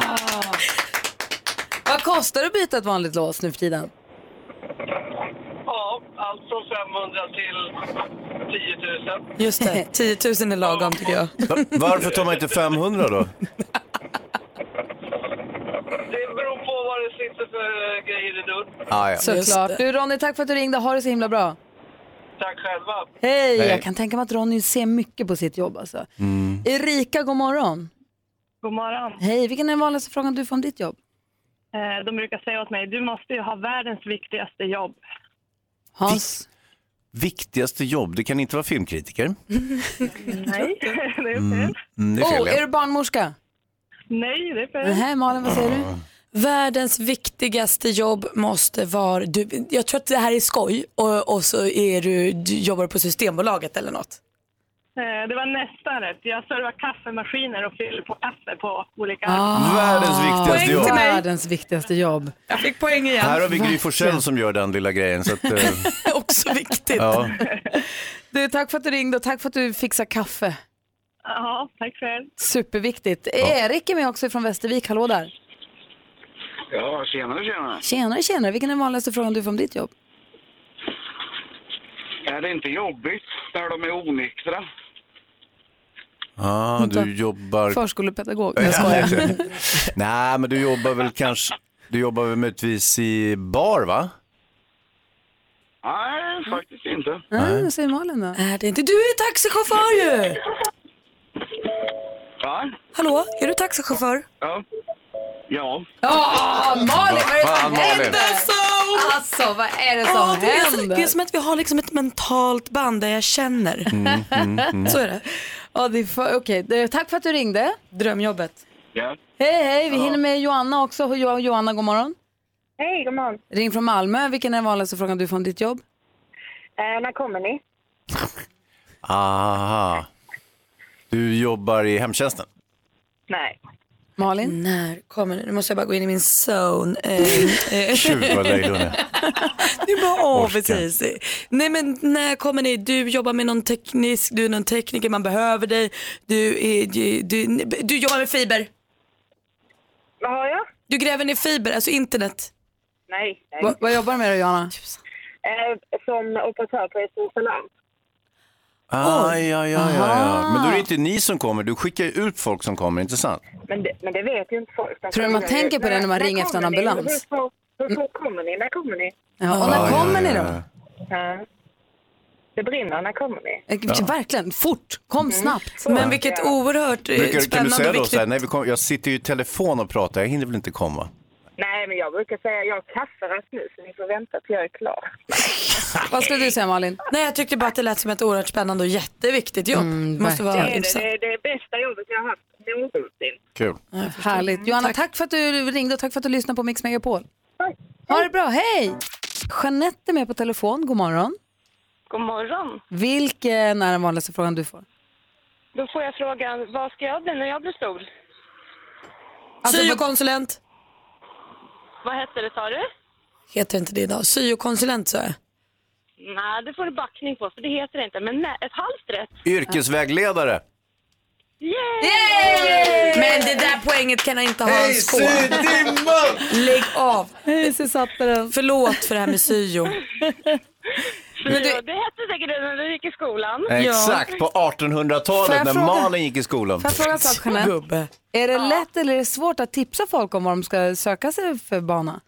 Speaker 4: Vad kostar det att byta ett vanligt lås nu för tiden?
Speaker 15: Ja, allt från 500 till 10 000.
Speaker 7: Just det, 10 000 är lagom tycker jag.
Speaker 5: Va- Varför tar man inte 500 då?
Speaker 15: Det beror på vad det sitter för eh, grejer i dörren.
Speaker 5: Ah, ja.
Speaker 4: Såklart. Du Ronny, tack för att du ringde. Ha det så himla bra.
Speaker 15: Tack själva.
Speaker 4: Hej!
Speaker 15: Hej.
Speaker 4: Jag kan tänka mig att Ronny ser mycket på sitt jobb alltså.
Speaker 15: Mm.
Speaker 4: Erika, god morgon.
Speaker 16: God morgon.
Speaker 4: Hej, vilken är den vanligaste frågan du får om ditt jobb?
Speaker 16: Eh, De brukar säga åt mig, du måste ju ha världens viktigaste jobb.
Speaker 4: Hans?
Speaker 5: Viktigaste jobb, det kan inte vara filmkritiker.
Speaker 16: Nej, det är fel.
Speaker 5: Mm, det är fel,
Speaker 4: oh,
Speaker 5: ja.
Speaker 4: är du barnmorska?
Speaker 16: Nej, det är fel.
Speaker 4: Nej, Malin, vad säger du?
Speaker 7: Världens viktigaste jobb måste vara... Du, jag tror att det här är skoj och, och så är du, du jobbar på Systembolaget eller något.
Speaker 16: Eh, Det var nästan rätt. Jag servar kaffemaskiner och fyller på kaffe på olika...
Speaker 5: Världens viktigaste Ah, Poäng till jobb. mig.
Speaker 4: Världens viktigaste jobb.
Speaker 7: Jag fick poäng
Speaker 5: Här har vi Gry Forssell som gör den lilla grejen. Så att, eh,
Speaker 7: Också viktigt.
Speaker 5: ja.
Speaker 4: Du, tack för att du ringde och tack för att du fixar kaffe.
Speaker 16: Ja, tack själv.
Speaker 4: Superviktigt. Erik är med också från Västervik. Hallå där.
Speaker 10: Ja, tjenare, tjenare.
Speaker 4: Tjenare, tjenare. Vilken är den vanligaste frågan du får om ditt jobb?
Speaker 10: Är det inte jobbigt när de är onyktra?
Speaker 5: ah, du jobbar...
Speaker 4: Förskolepedagog.
Speaker 5: Ja,
Speaker 4: Jag skojar.
Speaker 5: exakt. Nej, men du jobbar väl kanske... Du jobbar väl möjligtvis i bar, va?
Speaker 10: Nej,
Speaker 17: faktiskt inte.
Speaker 4: Nej, vad säger Malin då?
Speaker 7: Är det inte? Du är taxichaufför ju!
Speaker 17: Va?
Speaker 7: Hallå, är du taxichaufför?
Speaker 17: Ja. Ja.
Speaker 18: Ja, Malin, vad är det som
Speaker 17: Fan, Malin.
Speaker 18: händer? Alltså, vad är det som
Speaker 7: Ja, det, är, så-
Speaker 18: händer?
Speaker 7: det är som att vi har liksom ett mentalt band där jag känner.
Speaker 18: Mm, mm, mm.
Speaker 7: Så är det.
Speaker 4: Ja, det är för, okej. Det- Tack för att du ringde.
Speaker 7: Drömjobbet.
Speaker 17: Ja.
Speaker 4: Hej, hej. Vi hinner med Joanna också. Och Jo- Joanna, god morgon.
Speaker 11: Hej, god morgon.
Speaker 4: Ring från Malmö. Vilken är den vanligaste frågan du får om ditt jobb?
Speaker 11: Eh, när kommer ni?
Speaker 5: Aha. Du jobbar i hemtjänsten?
Speaker 11: Nej.
Speaker 4: Malin?
Speaker 7: När kommer det? Nu måste jag bara gå in i min zone. Eh, eh.
Speaker 5: Tjur, vad löjlig hon är.
Speaker 7: Det är bara, åh,
Speaker 5: Orkar.
Speaker 7: precis. Nej men när kommer ni? Du jobbar med någon teknisk, du är någon tekniker, man behöver dig. Du, är, du, du, du jobbar med fiber.
Speaker 11: Vad har jag?
Speaker 7: Du gräver ner fiber, alltså internet.
Speaker 11: Nej. nej.
Speaker 4: Va, vad jobbar du med då, Johanna?
Speaker 11: Eh, som operatör på ett restaurang.
Speaker 5: Ah, ja, ja, ja, ja. Men då är det inte ni som kommer, du skickar ut folk som kommer, inte sant?
Speaker 11: Men det, men det vet ju inte folk. De
Speaker 4: Tror du man
Speaker 11: kommer-
Speaker 4: tänker på det när man ringer efter en
Speaker 11: kommer ni?
Speaker 4: ambulans?
Speaker 11: Hur fort- Hur fort kommer ni? När kommer ni?
Speaker 4: Ja, och när
Speaker 11: Ah, ja,
Speaker 4: kommer
Speaker 11: ja,
Speaker 4: ni då?
Speaker 11: ja. Ja. Det brinner. När kommer ni?
Speaker 4: Eh, Verkligen, fort. Kom snabbt.
Speaker 7: Men vilket oerhört eh,
Speaker 5: Brukar, kan du
Speaker 7: spännande
Speaker 5: säga
Speaker 7: och
Speaker 5: då så här,
Speaker 7: viktigt.
Speaker 5: nej, vi kom, jag sitter ju i telefon och pratar, jag hinner väl inte komma?
Speaker 11: Nej, men jag brukar säga jag har kafferast nu så ni får vänta till jag är klar.
Speaker 4: Vad skulle du säga Malin?
Speaker 7: Nej jag tyckte bara att det lät som ett oerhört spännande och jätteviktigt jobb. det måste
Speaker 11: det, är
Speaker 7: vara
Speaker 11: det,
Speaker 7: intressant.
Speaker 11: det, är det bästa jobbet jag har haft någonsin.
Speaker 5: Kul.
Speaker 4: Härligt. Johanna, tack. för att du ringde och tack för att du lyssnade på Mix Megapol. Ha det bra, hej! Jeanette är med på telefon, god morgon.
Speaker 16: God morgon.
Speaker 4: Vilken är den vanligaste frågan du får?
Speaker 16: Då får jag frågan, vad ska jag bli när jag blir stor?
Speaker 7: Syokonsulent
Speaker 16: Vad heter det, sa du?
Speaker 7: heter inte det idag. Syokonsulent så jag.
Speaker 16: Nej, det får du backning på, för det heter det inte. Men nej, ett halvt rätt.
Speaker 5: Yrkesvägledare.
Speaker 16: Yay!
Speaker 7: Men det där poänget kan jag inte ha
Speaker 16: Hej,
Speaker 7: en skål.
Speaker 16: sydimman!
Speaker 7: Lägg av.
Speaker 4: Hej, så satte den.
Speaker 7: Förlåt för det här med syo.
Speaker 16: Men du... Det hette säkert det när du gick i skolan.
Speaker 5: Exakt, på
Speaker 4: Får
Speaker 5: 1800-talet
Speaker 4: jag
Speaker 5: när
Speaker 4: fråga-
Speaker 5: Malin gick i skolan.
Speaker 4: Får jag fråga en sak Jeanette? Är det lätt eller är det svårt att tipsa folk om vad de ska söka sig för bana?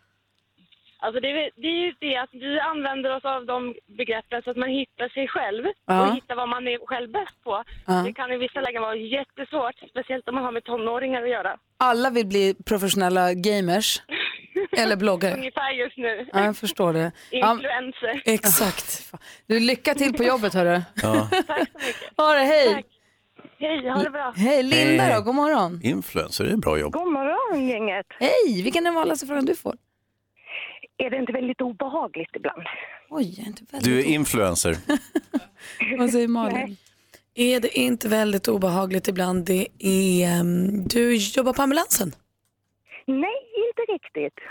Speaker 16: Alltså det, är- det är ju det att vi använder oss av de begreppen så att man hittar sig själv
Speaker 4: Ja.
Speaker 16: och hittar vad man är själv bäst på.
Speaker 4: Ja.
Speaker 16: Det kan i vissa lägen vara jättesvårt, speciellt om man har med tonåringar att göra.
Speaker 4: Alla vill bli professionella gamers eller bloggare.
Speaker 16: Ungefär just nu.
Speaker 4: Ja, jag förstår det. Ja,
Speaker 16: Influencer.
Speaker 7: exakt.
Speaker 4: Du, lycka till på jobbet hörru.
Speaker 5: Ja.
Speaker 4: Ha det, hej!
Speaker 16: Hej, ha det bra.
Speaker 4: Hej, Linda
Speaker 5: Hej.
Speaker 4: då, god morgon.
Speaker 5: Influencer, det är bra jobb.
Speaker 16: God morgon gänget.
Speaker 4: Hej, vilken är den vanligaste frågan du får?
Speaker 16: Är det inte väldigt obehagligt ibland?
Speaker 4: Oj, jag är inte
Speaker 5: Du är influencer.
Speaker 4: Vad säger Malin?
Speaker 7: Är det inte väldigt obehagligt ibland? Det är, ehm, du jobbar på ambulansen.
Speaker 16: Nej, inte riktigt.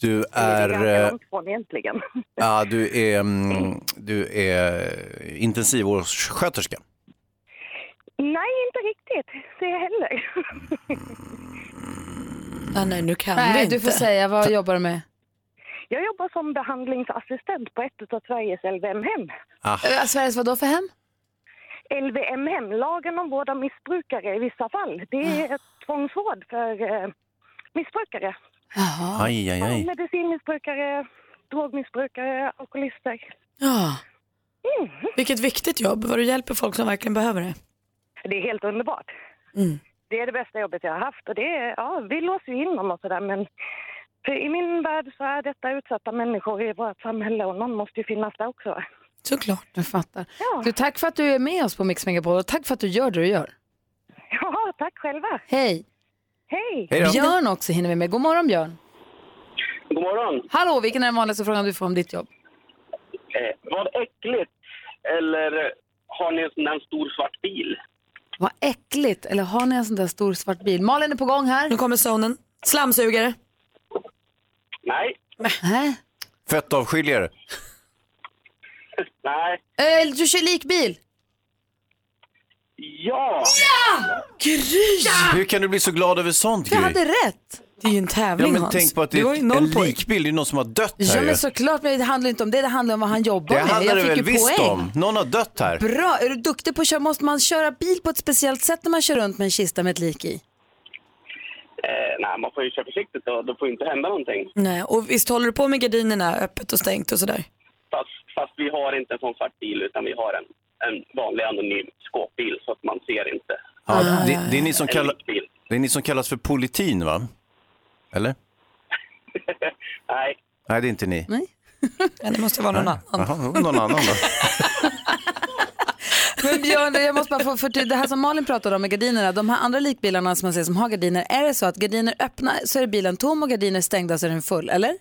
Speaker 5: Du
Speaker 16: Ganska
Speaker 5: är, eh,
Speaker 16: långt från egentligen.
Speaker 5: ja, du är, mm, du är intensivvårdssköterska.
Speaker 16: Nej, inte riktigt. Det heller.
Speaker 7: Ah, nej, nu kan
Speaker 4: Nej,
Speaker 7: vi
Speaker 4: du
Speaker 7: inte.
Speaker 4: får säga, vad jobbar du med?
Speaker 16: Jag jobbar som behandlingsassistent på ett av Sveriges LVM-hem.
Speaker 5: Ah,
Speaker 4: Eh, Sveriges vadå för hem?
Speaker 16: LVM-hem, lagen om vård av missbrukare i vissa fall. Det är ett tvångsvård för eh, missbrukare.
Speaker 5: Aj, aj, aj.
Speaker 16: Medicinmissbrukare, drogmissbrukare, alkoholister.
Speaker 7: Ja. Vilket viktigt jobb, vad du hjälper folk som verkligen behöver det.
Speaker 16: Det är helt underbart.
Speaker 7: Mm.
Speaker 16: Det är det bästa jobbet jag har haft. Och det är, ja, vi låser ju in dem och sådär men för i min värld så är detta utsatta människor i vårt samhälle och någon måste ju finnas där också. va?
Speaker 7: Såklart.
Speaker 4: Jag fattar. Du, tack för att du är med oss på Mix Megapol och tack för att du gör det du gör.
Speaker 16: Ja, tack själva.
Speaker 4: Hej!
Speaker 16: Hej!
Speaker 4: Björn också hinner vi med. God morgon Björn.
Speaker 19: God morgon.
Speaker 4: Hallå, vilken är den vanligaste frågan du får om ditt jobb?
Speaker 19: Eh, vad äckligt. Eller eh, har ni en sån där stor svart bil?
Speaker 4: Vad äckligt, eller har ni en sån där stor svart bil? Malin är på gång här.
Speaker 7: Nu kommer zonen. Slamsugare.
Speaker 19: Nej.
Speaker 4: Nej.
Speaker 5: Fettavskiljare.
Speaker 19: Nej.
Speaker 4: Äh, du kör likbil.
Speaker 19: Ja!
Speaker 4: Ja!
Speaker 7: Gry!
Speaker 5: Hur kan du bli så glad över sånt
Speaker 4: Jag
Speaker 5: Gry?
Speaker 4: hade rätt.
Speaker 7: Det är ju en
Speaker 5: Ja,
Speaker 7: tävling
Speaker 5: men
Speaker 7: Hans.
Speaker 5: tänk på att det
Speaker 7: Du har
Speaker 5: är
Speaker 7: ju
Speaker 5: en
Speaker 7: noll poäng.
Speaker 5: likbild, det är någon som har dött här
Speaker 4: Ja
Speaker 5: ju.
Speaker 4: men såklart, men det handlar ju inte om det, det handlar om vad han jobbar
Speaker 5: Det
Speaker 4: med.
Speaker 5: handlar det
Speaker 4: Jag
Speaker 5: väl
Speaker 4: fick ju
Speaker 5: visst
Speaker 4: poäng.
Speaker 5: om. Någon har dött här.
Speaker 4: Bra, är du duktig på att köra? Måste man köra bil på ett speciellt sätt när man kör runt med en kista med ett lik i?
Speaker 19: Eh, nej, man får ju köra försiktigt då. Då får ju inte hända någonting.
Speaker 7: Nej, och visst håller du på med gardinerna öppet och stängt och sådär?
Speaker 19: Fast, fast vi har inte en sån svart bil utan vi har en, en vanlig anonym skåpbil så att man ser inte.
Speaker 5: Ja, det, det, är ni som
Speaker 19: En
Speaker 5: kallar,
Speaker 19: lyktbil.
Speaker 5: det är ni som kallas för politin, va? Eller?
Speaker 19: Nej,
Speaker 5: Nej, det är inte ni.
Speaker 4: Nej.
Speaker 20: det måste vara någon annan.
Speaker 5: Jaha, någon annan då.
Speaker 4: Men Björn, jag måste bara få förtydliga, det här som Malin pratade om med gardinerna, de här andra likbilarna som man ser som har gardiner, är det så att gardiner öppna så är bilen tom och gardiner stängda så är den full, eller?
Speaker 19: eh,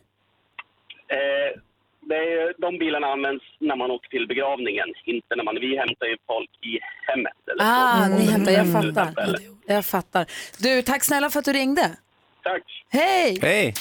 Speaker 19: det är, ju- de bilarna används när man åker till begravningen, inte när man... Vi hämtar ju folk i hemmet. Eller
Speaker 4: Ah,
Speaker 19: så. Mm.
Speaker 4: ni hämtar, jag fattar.
Speaker 19: Eller-
Speaker 4: Jag fattar. Du, tack snälla för att du ringde.
Speaker 19: Tack.
Speaker 4: Hej!
Speaker 5: Hej!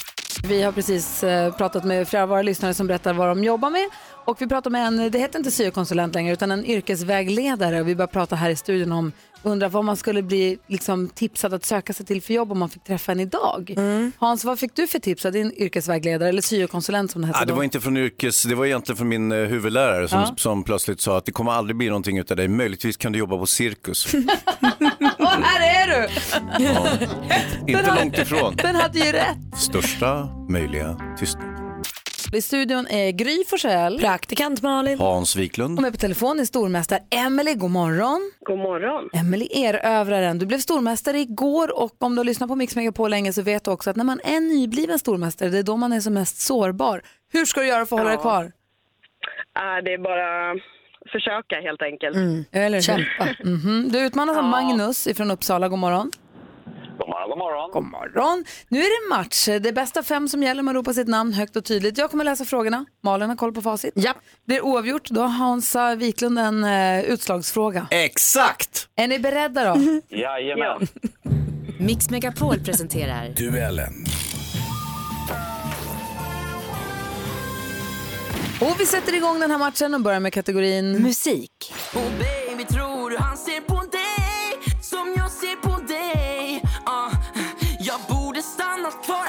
Speaker 4: Vi har precis eh, pratat med flera av våra lyssnare som berättar vad de jobbar med. Och vi pratar med en, det heter inte syokonsulent längre, utan en yrkesvägledare. Och vi bara prata här i studion om, undrar vad man skulle bli liksom, tipsad att söka sig till för jobb om man fick träffa en idag. Hans, vad fick du för tips av din yrkesvägledare, eller syokonsulent som det hette
Speaker 5: Ja, det
Speaker 4: då?
Speaker 5: var inte från yrkes, det var egentligen från min eh, huvudlärare som,
Speaker 4: Ja.
Speaker 5: som plötsligt sa att det kommer aldrig bli någonting utav dig, möjligtvis kan du jobba på cirkus.
Speaker 4: Åh, här är du!
Speaker 5: inte
Speaker 4: hade-
Speaker 5: långt ifrån.
Speaker 4: Den hade ju rätt.
Speaker 5: Största möjliga tystnad.
Speaker 4: I studion är Gry Forssell. Praktikant Malin.
Speaker 5: Hans Wiklund.
Speaker 4: Och med på telefon är stormästare Emelie. God morgon.
Speaker 16: God morgon.
Speaker 4: Emelie erövraren. Du blev stormästare igår och om du har lyssnat på Mix Megapol länge så vet du också att när man är nybliven stormästare, det är då man är som mest sårbar. Hur ska du göra för att hålla
Speaker 16: Ja.
Speaker 4: dig kvar?
Speaker 16: Äh, det är bara försöka helt enkelt.
Speaker 4: Eller hur? Mhm. Du utmanas av Magnus från Uppsala. God morgon.
Speaker 11: God morgon, god morgon.
Speaker 4: God morgon. Nu är det match. Det är bästa fem som gäller. Man ropar sitt namn högt och tydligt. Jag kommer läsa frågorna. Malin har koll på facit. Ja. Blir oavgjort, då har Hansa Wiklund en eh, utslagsfråga.
Speaker 5: Exakt!
Speaker 4: Är ni beredda då?
Speaker 21: Jajamän. Mix Megapol presenterar
Speaker 22: Duellen.
Speaker 4: Och vi sätter igång den här matchen och börjar med kategorin musik.
Speaker 3: Och baby tror du han ser på dig som jag ser på dig Ah, Jag borde stannat kvar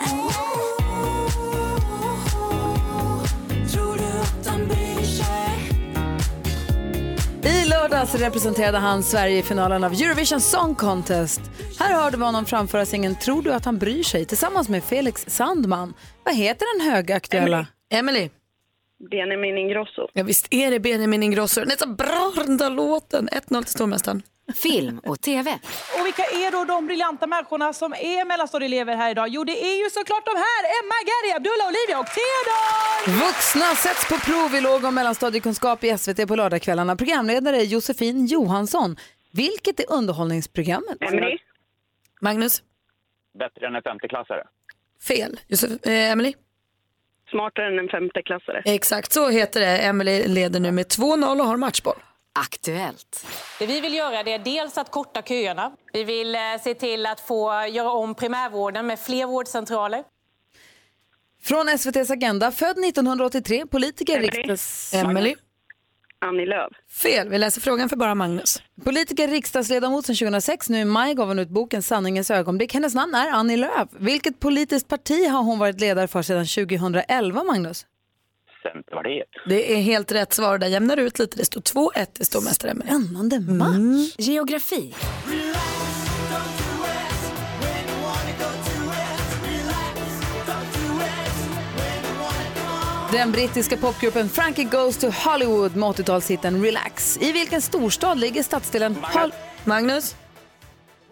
Speaker 3: Tror du att han bryr sig?
Speaker 4: I lördags representerade han Sverige i finalen av Eurovision Song Contest. Här hörde vi honom framföra singeln Tror du att han bryr sig tillsammans med Felix Sandman. Vad heter den högaktuella?
Speaker 7: Emily.
Speaker 16: Benjamin Ingrosso.
Speaker 7: Ja, visst är det Benjamin Ingrosso. Den är så bra den där låten. 1-0 till stormästaren.
Speaker 21: film och tv.
Speaker 23: Och vilka är då de briljanta människorna som är mellanstadieelever här idag? Jo, det är ju såklart de här! Emma, Gary, Abdullah, Olivia och Theodor!
Speaker 4: Vuxna sätts på prov i låg och mellanstadiekunskap i SVT på lördagskvällarna. Programledare är Josefin Johansson. Vilket är underhållningsprogrammet?
Speaker 16: Emily.
Speaker 7: Magnus.
Speaker 11: Bättre än en femteklassare.
Speaker 7: Fel. Josef, eh, Emily.
Speaker 16: Smartare än en femteklassare.
Speaker 7: Exakt så heter det. Emily leder nu med 2-0 och har matchboll.
Speaker 21: Aktuellt.
Speaker 23: Det vi vill göra det är dels att korta köerna. Vi vill eh, se till att få göra om primärvården med fler vårdcentraler.
Speaker 4: Från SVTs Agenda, född 1983, politiker, riksdags...
Speaker 7: Emily.
Speaker 16: Annie Lööf.
Speaker 7: Fel. Vi läser frågan för bara Magnus.
Speaker 4: Politiker, riksdagsledamot sedan 2006. Nu i maj gav hon ut boken Sanningens ögonblick. Hennes namn är Annie Lööf. Vilket politiskt parti har hon varit ledare för sedan 2011, Magnus?
Speaker 11: Centerpartiet.
Speaker 7: Det är helt rätt svar. Där jämnar du ut lite. Det står 2-1 till stormästare Emily.
Speaker 4: Spännande
Speaker 7: Mm.
Speaker 4: match.
Speaker 23: Mm.
Speaker 21: Geografi.
Speaker 4: Den brittiska popgruppen Frankie Goes to Hollywood med 80-talshitten Relax. I vilken storstad ligger stadsdelen Hol-
Speaker 7: Magnus?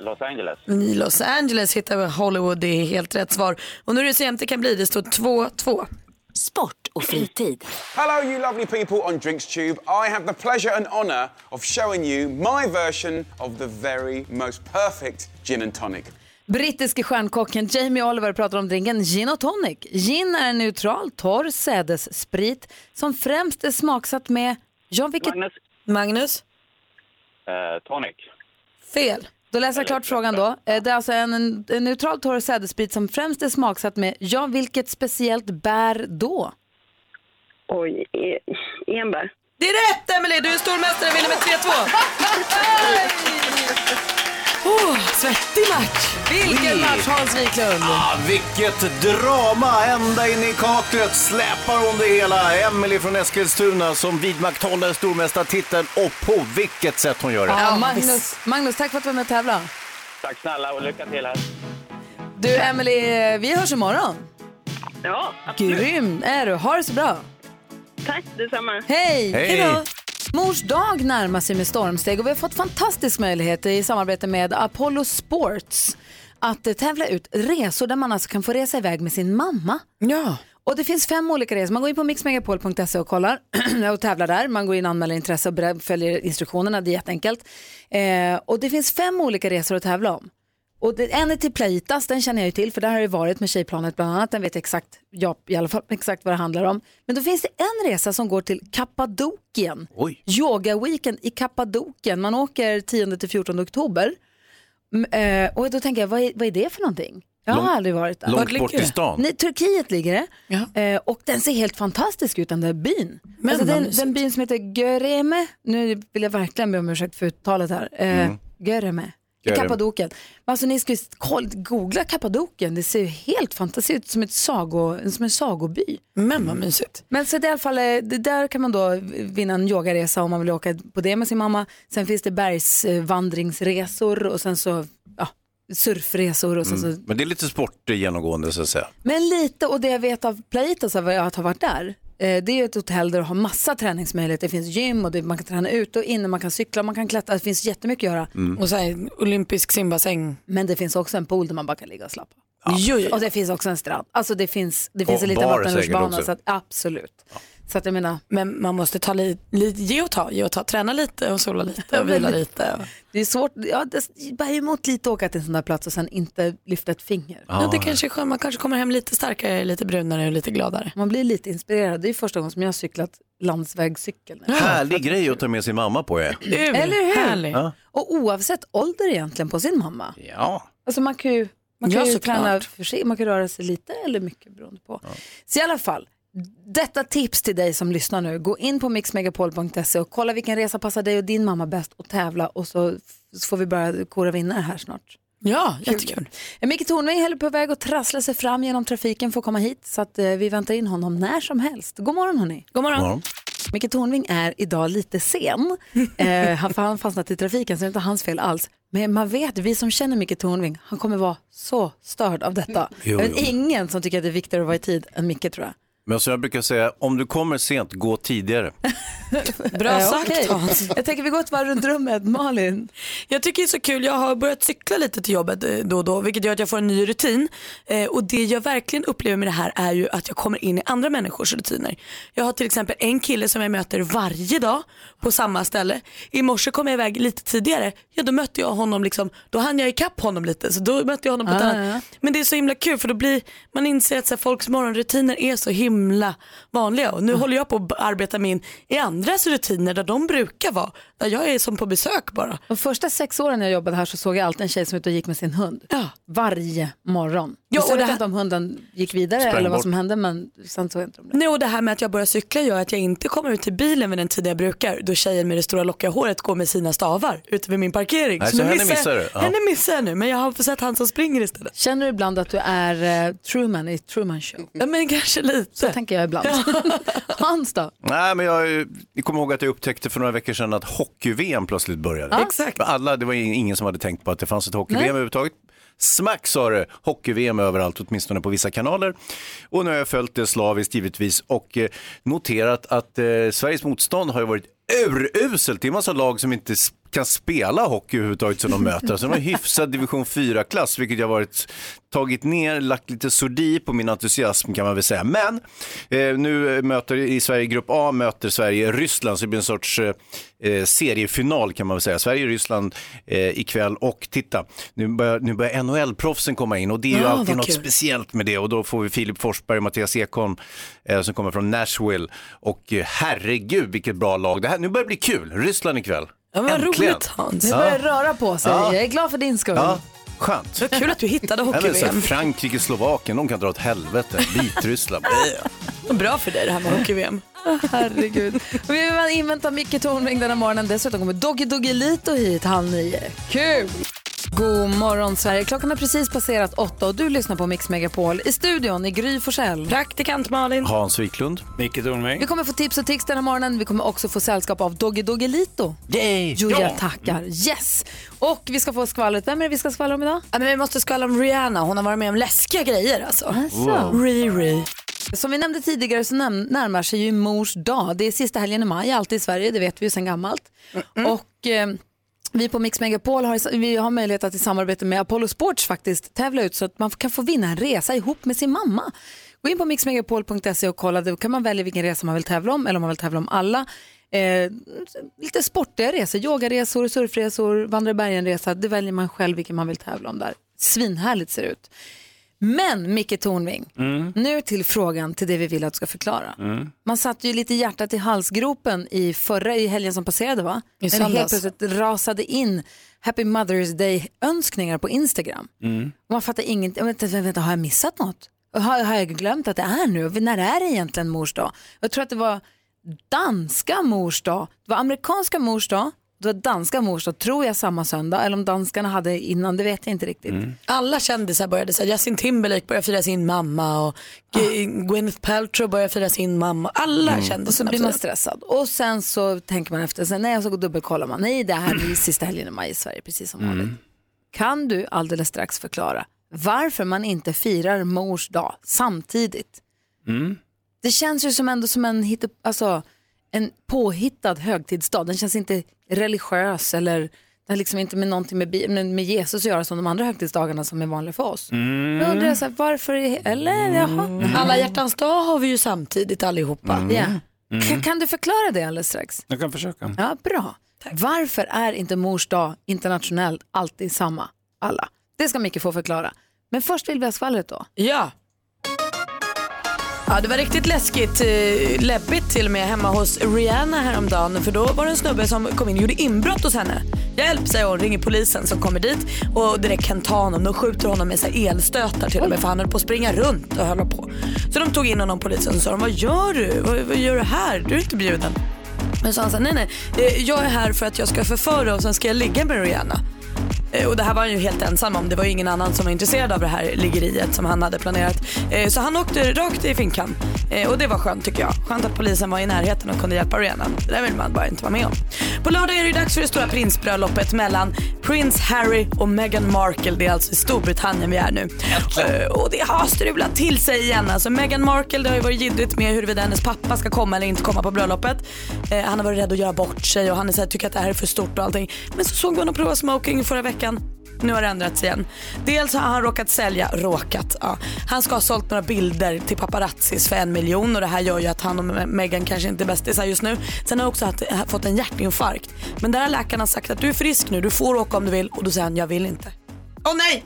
Speaker 11: Los Angeles.
Speaker 7: I Los Angeles hittar vi Hollywood. Det är helt rätt svar. Och nu är det så jämnt det kan bli. Det står 2-2.
Speaker 21: Sport och fritid.
Speaker 24: Hello, you lovely people on DrinksTube. I have the pleasure and honour of showing you my version of the very most perfect gin and tonic.
Speaker 4: Brittiske stjärnkocken Jamie Oliver pratar om drinken gin och tonic. Gin är en neutral, torr sädessprit som främst är smaksatt med... Ja, vilket...
Speaker 11: Magnus.
Speaker 7: Magnus?
Speaker 11: Eh, tonic.
Speaker 7: Fel.
Speaker 4: Då läser jag klart frågan då. Eh, Det är alltså en, en neutral, torr sädessprit som främst är smaksatt med... Ja, vilket speciellt bär då?
Speaker 16: Oj, e- enbär.
Speaker 7: Det är rätt Emily. Du är stormästare. Vinner med 3-2. Oh, svettig match. Vilken match Hans Wiklund.
Speaker 5: Ah, vilket drama! Ända in i kaklet släpar hon det hela. Emelie från Eskilstuna som vidmakthåller stormästartiteln och på vilket sätt hon gör det.
Speaker 4: Ja, Magnus, Magnus, tack för att du var med och tävlade.
Speaker 11: Tack snälla och lycka till här.
Speaker 4: Du, Emily, vi hörs imorgon.
Speaker 16: Ja,
Speaker 4: Grym är du. Ha det så bra.
Speaker 3: Tack
Speaker 2: Mm.
Speaker 3: detsamma.
Speaker 4: Hej!
Speaker 3: Hej då!
Speaker 4: Mors dag närmar sig med stormsteg och vi har fått fantastisk möjlighet i samarbete med Apollo Sports att eh, tävla ut resor där man alltså kan få resa iväg med sin mamma.
Speaker 7: Ja.
Speaker 4: Och det finns fem olika resor. Man går in på mixmegapol.se och kollar och tävlar där. Man går in och anmäler intresse och bre- följer instruktionerna. Det är jätteenkelt. Eh, och det finns fem olika resor att tävla om. Och det, en är till Plaitas, den känner jag ju till för där har jag ju varit med Tjejplanet bland annat. Den vet exakt, ja, i alla fall exakt vad det handlar om. Men då finns det en resa som går till Kappadokien.
Speaker 5: Oj.
Speaker 4: Yoga weekend i Kappadokien. Man åker 10-14 oktober. Mm, eh, och då tänker jag, vad är, vad är det för någonting? Jag har
Speaker 5: Långt-
Speaker 4: aldrig varit där.
Speaker 5: långt Vart ligger bort i det? stan.
Speaker 4: Nej, Turkiet ligger det. Eh, och den ser helt fantastisk ut, den där byn.
Speaker 7: Men
Speaker 4: alltså,
Speaker 7: vad
Speaker 4: den,
Speaker 7: mysigt.
Speaker 4: den byn som heter Göreme, nu vill jag verkligen be om ursäkt för uttalet här. Eh,
Speaker 7: Mm.
Speaker 4: Göreme. I
Speaker 7: Göreme.
Speaker 4: Kappadokien. Men Alltså ni ska ju koll- googla Kappadokien, det ser ju helt fantastiskt det ser ut som, ett sago, som en sagoby.
Speaker 7: Men vad mysigt.
Speaker 4: Men så det är i alla fall, eh, det där kan man då vinna en yogaresa om man vill åka på det med sin mamma. Sen finns det bergsvandringsresor och sen så ja, surfresor och sen så
Speaker 5: Mm. Men det är lite sport genomgående så att säga.
Speaker 4: men lite, och det jag vet av alltså, Plaitas, av att ha varit där, eh, det är ju ett hotell där du har massa träningsmöjligheter. Det finns gym och det, man kan träna ute och inne, man kan cykla, man kan klättra, det finns jättemycket att göra.
Speaker 5: Mm.
Speaker 7: Och så här, olympisk simbassäng.
Speaker 4: Men det finns också en pool där man bara kan ligga och slappa. Och det finns också en strand. Alltså det finns, det finns
Speaker 7: Och
Speaker 4: en liten
Speaker 7: bar säkert
Speaker 4: vattenrutschbana,
Speaker 7: också.
Speaker 4: så att, absolut. Så att jag menar,
Speaker 7: Men man måste ta li, li, ge och ta, ge och ta. Träna lite och sola lite och vila lite.
Speaker 4: det är svårt, ja, det bär ju emot lite att åka till en sån där plats och sen inte lyfta ett finger.
Speaker 7: Ja, det kanske är skönt. Man kanske kommer hem lite starkare, lite brunare och lite gladare.
Speaker 4: Man blir lite inspirerad. Det är första gången som jag har cyklat landsvägscykel.
Speaker 5: Härlig grej att ta med sin mamma på är.
Speaker 4: Eller hur?
Speaker 5: Ja.
Speaker 4: Och oavsett ålder egentligen på sin mamma.
Speaker 5: ja.
Speaker 4: Alltså man kan ju, man
Speaker 7: Ja,
Speaker 4: kan ju
Speaker 7: såklart.
Speaker 4: träna för sig, man kan röra sig lite eller mycket beroende på. Så i alla fall, detta tips till dig som lyssnar nu. Gå in på mixmegapol.se och kolla vilken resa passar dig och din mamma bäst och tävla och så, f- så får vi börja kora vinnare här snart. Eh,
Speaker 7: Ja, jättekul.
Speaker 4: Micke Tornving håller på väg att trassla sig fram genom trafiken för att komma hit så att eh, vi väntar in honom när som helst. God morgon hörni.
Speaker 7: God morgon.
Speaker 4: Micke Tornving är idag lite sen. Eh, han, för han har fastnat i trafiken så det är inte hans fel alls. Men man vet, vi som känner Micke Tornving, han kommer vara så störd av
Speaker 7: Mm.
Speaker 4: detta.
Speaker 5: Jo,
Speaker 4: jag vet
Speaker 5: jo.
Speaker 4: ingen som tycker att det är viktigare att vara i tid än Micke tror jag.
Speaker 5: Men som jag brukar säga, om du kommer sent, gå tidigare.
Speaker 7: Bra sagt,
Speaker 4: Eh, okej.
Speaker 7: Hans.
Speaker 4: Jag tänker vi går ett varv runt rummet. Malin?
Speaker 7: Jag tycker det är så kul. Jag har börjat cykla lite till jobbet eh, då och då vilket gör att jag får en ny rutin. Eh, och det jag verkligen upplever med det här är ju att jag kommer in i andra människors rutiner. Jag har till exempel en kille som jag möter varje dag på samma ställe. I morse kom jag iväg lite tidigare. Ja, då mötte jag honom liksom, då hann jag ikapp honom lite. Så då mötte jag honom på ett
Speaker 4: Ah,
Speaker 7: annat. Men det är så himla kul för då blir, man inser att så här, folks morgonrutiner är så himla vanliga. Och nu håller jag på att b- arbeta mig in i andras rutiner där de brukar vara. Där jag är som på besök bara.
Speaker 4: De första sex åren jag jobbade här så såg jag alltid en tjej som ut och gick med sin hund. Varje morgon.
Speaker 7: Ja,
Speaker 4: Ja, och
Speaker 7: och
Speaker 4: jag
Speaker 7: det
Speaker 4: vet
Speaker 7: här-
Speaker 4: inte om hunden gick vidare
Speaker 7: Sprang
Speaker 4: eller vad
Speaker 7: bort.
Speaker 4: som hände men sen såg jag inte om det.
Speaker 7: Nej, och det här med att jag börjar cykla gör att jag inte kommer ut till bilen vid den tid jag brukar då tjejen med det stora lockiga håret går med sina stavar ute vid min parkering.
Speaker 5: Nej, så
Speaker 7: nu
Speaker 5: henne
Speaker 7: jag-
Speaker 5: missar du. Ja.
Speaker 7: Henne missar jag nu men jag har sett han som springer istället.
Speaker 4: Känner du ibland att du är eh, Truman i Truman Show?
Speaker 7: Ja men kanske lite.
Speaker 4: Så tänker jag ibland. Hans då?
Speaker 5: Nej, men jag, jag kommer ihåg att jag upptäckte för några veckor sedan att hockey-VM plötsligt började.
Speaker 4: Ja.
Speaker 5: Exakt. Alla, det var ing- ingen som hade tänkt på att det fanns ett hockey-VM
Speaker 4: Nej.
Speaker 5: överhuvudtaget. Smack sa det, hockey-VM överallt, åtminstone på vissa kanaler. Och nu har jag följt det slaviskt givetvis och eh, noterat att eh, Sveriges motstånd har ju varit uruselt. Det är en massa lag som inte s- kan spela hockey överhuvudtaget som de möter. Alltså de har hyfsad division 4-klass, vilket jag varit tagit ner, lagt lite sordin på min entusiasm kan man väl säga. Men eh, nu eh, möter i Sverige grupp A möter Sverige Ryssland så det blir en sorts eh, eh, seriefinal kan man väl säga. Sverige-Ryssland eh, ikväll och titta, nu börjar, nu börjar NHL-proffsen komma in och det är ju
Speaker 6: Ja,
Speaker 5: alltid
Speaker 6: vad
Speaker 5: något
Speaker 6: kul.
Speaker 5: speciellt med det och då får vi Filip Forsberg och Mattias Ekholm eh, som kommer från Nashville och eh, herregud vilket bra lag det här, nu börjar det bli kul, Ryssland ikväll.
Speaker 7: Ja, vad
Speaker 5: Äntligen.
Speaker 7: roligt, Hans.
Speaker 4: Nu börjar det röra på sig.
Speaker 5: Ja.
Speaker 4: Jag är glad för din skull.
Speaker 5: Ja, skönt.
Speaker 7: Så kul att du hittade
Speaker 5: Nej, men så här,
Speaker 7: hockey-VM.
Speaker 5: Frankrike, Slovakien, de kan dra åt helvete. Vitryssland. blä.
Speaker 7: Bra för dig det här med hockey-VM.
Speaker 4: Åh, Herregud. Och vi vill invänta Micke Tornving den här morgonen. Dessutom kommer Doggy Doggy Lito hit halv nio. Kul! God morgon Sverige. Klockan har precis passerat åtta och du lyssnar på Mix Megapol. I studion i Gry Forssell.
Speaker 7: Praktikant Malin.
Speaker 5: Hans Wiklund.
Speaker 25: Micke Tornving.
Speaker 4: Vi kommer få tips och tricks den här morgonen. Vi kommer också få sällskap av Doggy Doggy Lito.
Speaker 25: Yay!
Speaker 4: Jo,
Speaker 25: Ja.
Speaker 4: jag tackar. Yes! Och vi ska få skvallret. Vem är det vi ska skvallra om idag?
Speaker 7: Ja, men vi måste skvallra om Rihanna. Hon har varit med om läskiga grejer alltså.
Speaker 4: Wow.
Speaker 7: Riri.
Speaker 4: Som vi nämnde tidigare så näm- närmar sig ju mors dag. Det är sista helgen i maj alltid i Sverige, det vet vi ju sedan gammalt. Och eh, vi på Mix Megapol har, i sa- vi har möjlighet att i samarbete med Apollo Sports faktiskt tävla ut så att man kan få vinna en resa ihop med sin mamma. Gå in på mixmegapol.se och kolla, då kan man välja vilken resa man vill tävla om eller om man vill tävla om alla. Eh, lite sportiga resor, yogaresor, surfresor, vandra i bergen-resa. Det väljer man själv vilken man vill tävla om där. Svinhärligt ser det ut. Men Micke Tornving,
Speaker 7: Mm.
Speaker 4: nu till frågan till det vi vill att du ska förklara.
Speaker 23: Mm.
Speaker 4: Man satte ju lite hjärtat i halsgropen i förra i helgen som passerade va?
Speaker 23: I
Speaker 4: När det helt
Speaker 23: söndags.
Speaker 4: plötsligt rasade in Happy Mother's Day-önskningar på Instagram. Och man fattar inget, jag vet inte, vänta, har jag missat något? Har, har jag glömt att det är nu? När är det egentligen mors dag? Jag tror att det var danska mors dag, det var amerikanska mors dag, det var danska mors dag, tror jag samma söndag, eller om danskarna hade innan, det vet jag inte riktigt.
Speaker 7: Alla kändisar började, så här, Justin Timberlake började fira sin mamma och
Speaker 4: Ah.
Speaker 7: G- Gwyneth Paltrow började fira sin mamma. Alla
Speaker 4: Mm. Och så
Speaker 7: kändisarna
Speaker 4: blir man
Speaker 7: firade.
Speaker 4: stressad. Och sen så tänker man efter, sen, nej, så dubbelkollar man. Nej, det här blir sista helgen i maj i Sverige, precis som vanligt.
Speaker 2: Mm.
Speaker 4: Kan du alldeles strax förklara varför man inte firar mors dag samtidigt?
Speaker 2: Mm.
Speaker 4: Det känns ju som ändå som en, hitte, alltså, en påhittad högtidsdag. Den känns inte religiös eller den har liksom inte med någonting med, Bi- med, med Jesus att göra som de andra högtidsdagarna som är vanliga för oss.
Speaker 2: Mm.
Speaker 4: Då undrar jag så här, varför, är, eller jaha.
Speaker 7: Mm. Alla hjärtans dag har vi ju samtidigt allihopa.
Speaker 4: Ja. Kan, kan du förklara det alldeles strax?
Speaker 5: Mm. Jag kan försöka.
Speaker 4: Ja, bra. Varför är inte mors dag internationellt alltid samma? Alla. Det ska Micke få förklara. Men först vill vi ha skvallret då.
Speaker 7: Ja. Ja, det var riktigt läskigt, eh, läbbigt till och med hemma hos Rihanna häromdagen för då var det en snubbe som kom in och gjorde inbrott hos henne. Hjälp säger hon, ringer polisen som kommer dit och direkt kan ta honom. De skjuter honom med så här elstötar till och med för han höll på att springa runt och höll på. Så de tog in honom polisen och sa de, vad gör du? Vad, vad gör du här? Du är inte bjuden. Men så han sa nej nej, eh, jag är här för att jag ska förföra och sen ska jag ligga med Rihanna. Eh, Och det här var han ju helt ensam om. Det var ju ingen annan som var intresserad av det här liggeriet som han hade planerat. Eh, Så han åkte rakt i finkan. Eh, Och det var skönt tycker jag. Skönt att polisen var i närheten och kunde hjälpa Rihanna. Det där vill man bara inte vara med om. På lördag är det ju dags för det stora prinsbröllopet mellan prins Harry och Meghan Markle. Det är alltså i Storbritannien vi är nu. Eh, Och det har strulat till sig igen. Alltså Meghan Markle, det har ju varit jiddrigt med huruvida hennes pappa ska komma eller inte komma på bröllopet. Eh, Han har varit rädd att göra bort sig och han är så här, tycker att det här är för stort och allting. Men så såg vi honom prova smoking förra veckan. Nu har det ändrats igen. Dels har han råkat sälja, råkat, ja. Han ska ha sålt några bilder till paparazzis för en miljon och det här gör ju att han och Me- Meghan kanske inte är bästisar just nu. Sen har han också haft, ha- fått en hjärtinfarkt. Men där har läkarna sagt att du är frisk nu, du får åka om du vill och då säger han jag vill inte. Åh nej!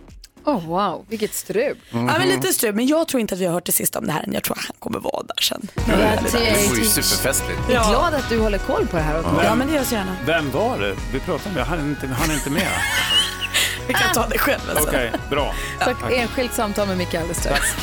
Speaker 4: Åh oh, wow, vilket strul.
Speaker 7: Ja men lite strul, men jag tror inte att vi har hört det sista om det här än. Jag tror att han kommer vara där sen.
Speaker 5: Det var ju superfestligt.
Speaker 4: Jag är glad att du håller koll på det här. åt mig.
Speaker 7: Ja men det gör jag så gärna.
Speaker 2: Vem var det? Vi pratade om det. Han är inte, han är inte med.
Speaker 7: Vi kan ta det själv
Speaker 2: Okej,
Speaker 7: alltså.
Speaker 2: bra.
Speaker 4: Tack. Enskilt samtal med Micke alldeles strax.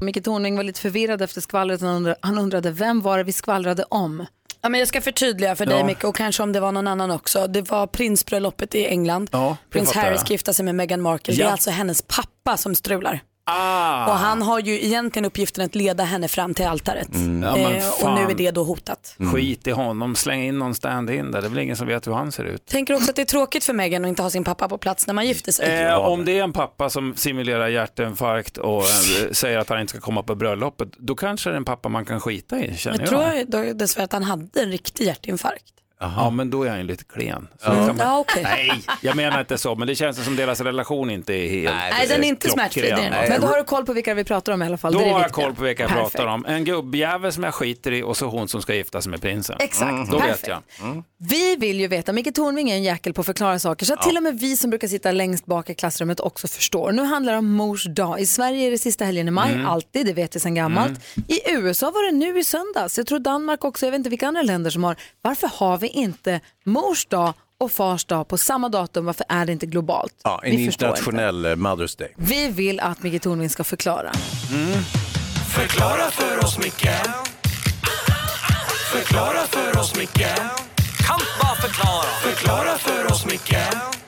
Speaker 4: Micke Tornving var lite förvirrad efter skvallret. Han undrade, han undrade vem var det vi skvallrade om?
Speaker 7: Ja, men jag ska förtydliga för dig
Speaker 4: Ja.
Speaker 7: Micke och kanske om det var någon annan också. Det var prinsbröllopet i England. Prins
Speaker 2: fattar
Speaker 7: Harry
Speaker 2: jag.
Speaker 7: ska gifta sig med Meghan Markle. Det är
Speaker 2: Ja.
Speaker 7: alltså hennes pappa som strular.
Speaker 2: Ah.
Speaker 7: Och han har ju egentligen uppgiften att leda henne fram till altaret.
Speaker 2: Mm. Ja, men
Speaker 7: Eh, och
Speaker 2: fan. Mm.
Speaker 7: nu är det då hotat.
Speaker 2: Skit i honom, släng in någon stand-in där. Det är väl ingen som vet hur han ser ut.
Speaker 7: Tänker också att det är tråkigt för Meghan att inte ha sin pappa på plats när man gifter sig.
Speaker 2: Eh, om det är en pappa som simulerar hjärtinfarkt och eh, säger att han inte ska komma på bröllopet, då kanske det är en pappa man kan skita i, känner
Speaker 7: jag
Speaker 2: jag.
Speaker 7: tror jag då, dessvärre att han hade en riktig hjärtinfarkt.
Speaker 2: Ja, men då är han ju lite klen. Så
Speaker 7: Mm.
Speaker 2: då kan man...
Speaker 7: Ja, okej.
Speaker 2: Nej, jag menar inte så, men det känns som deras relation inte är helt
Speaker 4: Nej, den är inte smärtfri. Det är den.
Speaker 2: klockren.
Speaker 4: Men då har du koll på vilka vi pratar om i alla fall.
Speaker 2: Då
Speaker 4: det är det
Speaker 2: har jag
Speaker 4: viktiga.
Speaker 2: koll på vilka jag
Speaker 4: Perfekt.
Speaker 2: pratar om. En gubbjävel som jag skiter i och så hon som ska gifta sig med prinsen.
Speaker 4: Exakt,
Speaker 2: Mm. Då
Speaker 4: perfekt.
Speaker 2: vet jag.
Speaker 4: Vi vill ju veta, Micke Tornving är en jäkel på att förklara saker så att
Speaker 2: Ja.
Speaker 4: till och med vi som brukar sitta längst bak i klassrummet också förstår. Nu handlar det om mors dag. I Sverige är det sista helgen i maj,
Speaker 23: Mm.
Speaker 4: alltid, det vet vi sedan gammalt.
Speaker 2: Mm.
Speaker 4: I USA var det nu i söndags, jag tror Danmark också, jag vet inte vilka andra länder som har. Varför har vi inte mors dag och fars dag på samma datum? Varför är det inte globalt?
Speaker 5: Ja, en
Speaker 4: vi förstår inte.
Speaker 5: internationell eh, Mother's Day.
Speaker 4: Vi vill att Micke Tornving ska förklara.
Speaker 6: Förklara för oss, Micke Förklara för oss, Micke Kan bara förklara Förklara för oss, Micke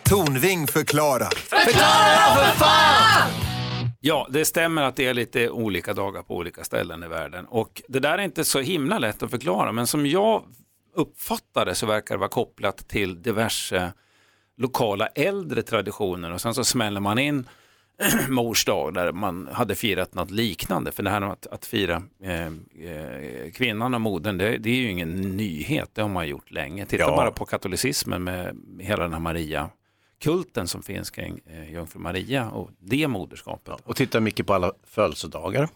Speaker 26: Tornving förklara.
Speaker 2: Förklara för fan! Ja, det stämmer att det är lite olika dagar på olika ställen i världen. Och det där är inte så himla lätt att förklara, men som jag uppfattar det så verkar det vara kopplat till diverse lokala äldre traditioner och sen så smäller man in mors dag där man hade firat något liknande. För det här med att, att fira eh, eh, kvinnan och modern, det, det är ju ingen nyhet. Det har man gjort länge. Titta
Speaker 5: Ja.
Speaker 2: bara på katolicismen med hela den här Maria-kulten som finns kring eh, jungfru Maria och det moderskapet.
Speaker 5: Och titta mycket på alla födelsedagar.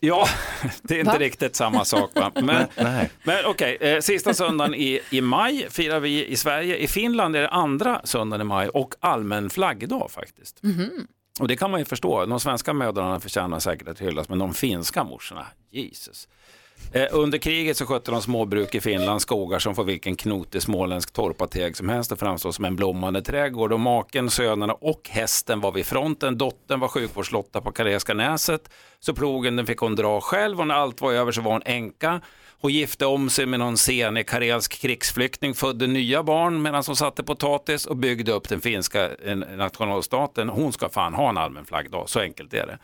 Speaker 2: Ja, det är inte
Speaker 5: Va?
Speaker 2: riktigt samma sak. Va? Men, men okej, eh, sista söndagen i, i maj firar vi i Sverige. I Finland är det andra söndagen i maj och allmän flaggdag faktiskt. Och det kan man ju förstå. De svenska mödrarna förtjänar säkert att hyllas, men de finska morsorna, Jesus. Eh, under kriget så skötte de småbruk i Finland, skogar som får vilken knotig småländsk torpateg som helst att framstå som en blommande trädgård. Och maken, sönerna och hästen var vid fronten. Dottern var sjukvårdslotta på Karelska näset. Så plogen den fick hon dra själv och när allt var över så var hon änka. Hon gifte om sig med någon senig karelsk krigsflykting, födde nya barn medan hon satte potatis och byggde upp den finska eh, nationalstaten. Hon ska fan ha en allmän flaggdag, så enkelt är det.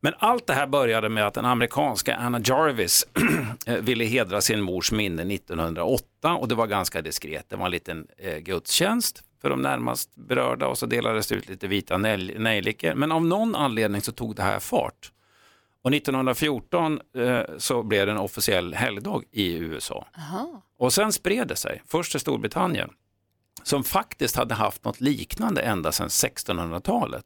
Speaker 2: Men allt det här började med att den amerikanska Anna Jarvis eh, ville hedra sin mors minne 1908 och det var ganska diskret. Det var en liten eh, gudstjänst för de närmast berörda och så delades det ut lite vita nej- nejlikor. Men av någon anledning så tog det här fart. Och 1914 eh, så blev det en officiell helgdag i USA. Och sen spred det sig, först till Storbritannien, som faktiskt hade haft något liknande ända sedan 1600-talet.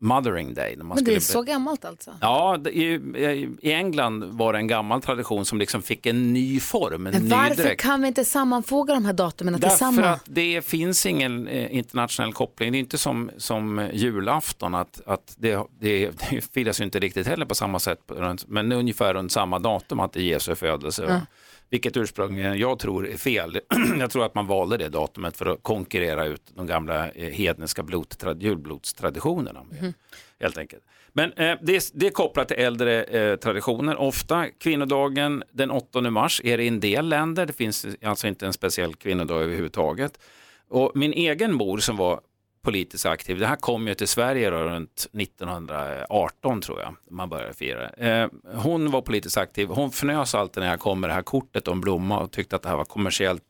Speaker 2: Mothering Day. När man
Speaker 4: Men det
Speaker 2: skulle
Speaker 4: är så
Speaker 2: be-
Speaker 4: gammalt alltså?
Speaker 2: Ja, det- i, i England var det en gammal tradition som liksom fick en ny form, en
Speaker 4: Men
Speaker 2: ny
Speaker 4: varför
Speaker 2: dräkt.
Speaker 4: kan vi inte sammanfoga de här datumen till
Speaker 2: Därför
Speaker 4: samma?
Speaker 2: att det finns ingen eh, internationell koppling. Det är inte som, som eh, julafton, att, att det, det, det firas ju inte riktigt heller på samma sätt, på- runt- men ungefär runt samma datum, att det är Jesu födelse.
Speaker 4: Ja.
Speaker 2: Vilket ursprungligen jag tror är fel. jag tror att man valde det datumet för att konkurrera ut de gamla eh, hedniska blodtrad, julblodstraditionerna. Helt enkelt. Men eh, det, är, det är kopplat till äldre eh, traditioner. Ofta kvinnodagen den 8 mars är det i en del länder. Det finns alltså inte en speciell kvinnodag överhuvudtaget. Och min egen mor som var politiskt aktiv, det här kom ju till Sverige då, runt 1918 tror jag, man började fira. Eh, hon var politiskt aktiv, hon fnös alltid när jag kom med det här kortet om blomma och tyckte att det här var kommersiellt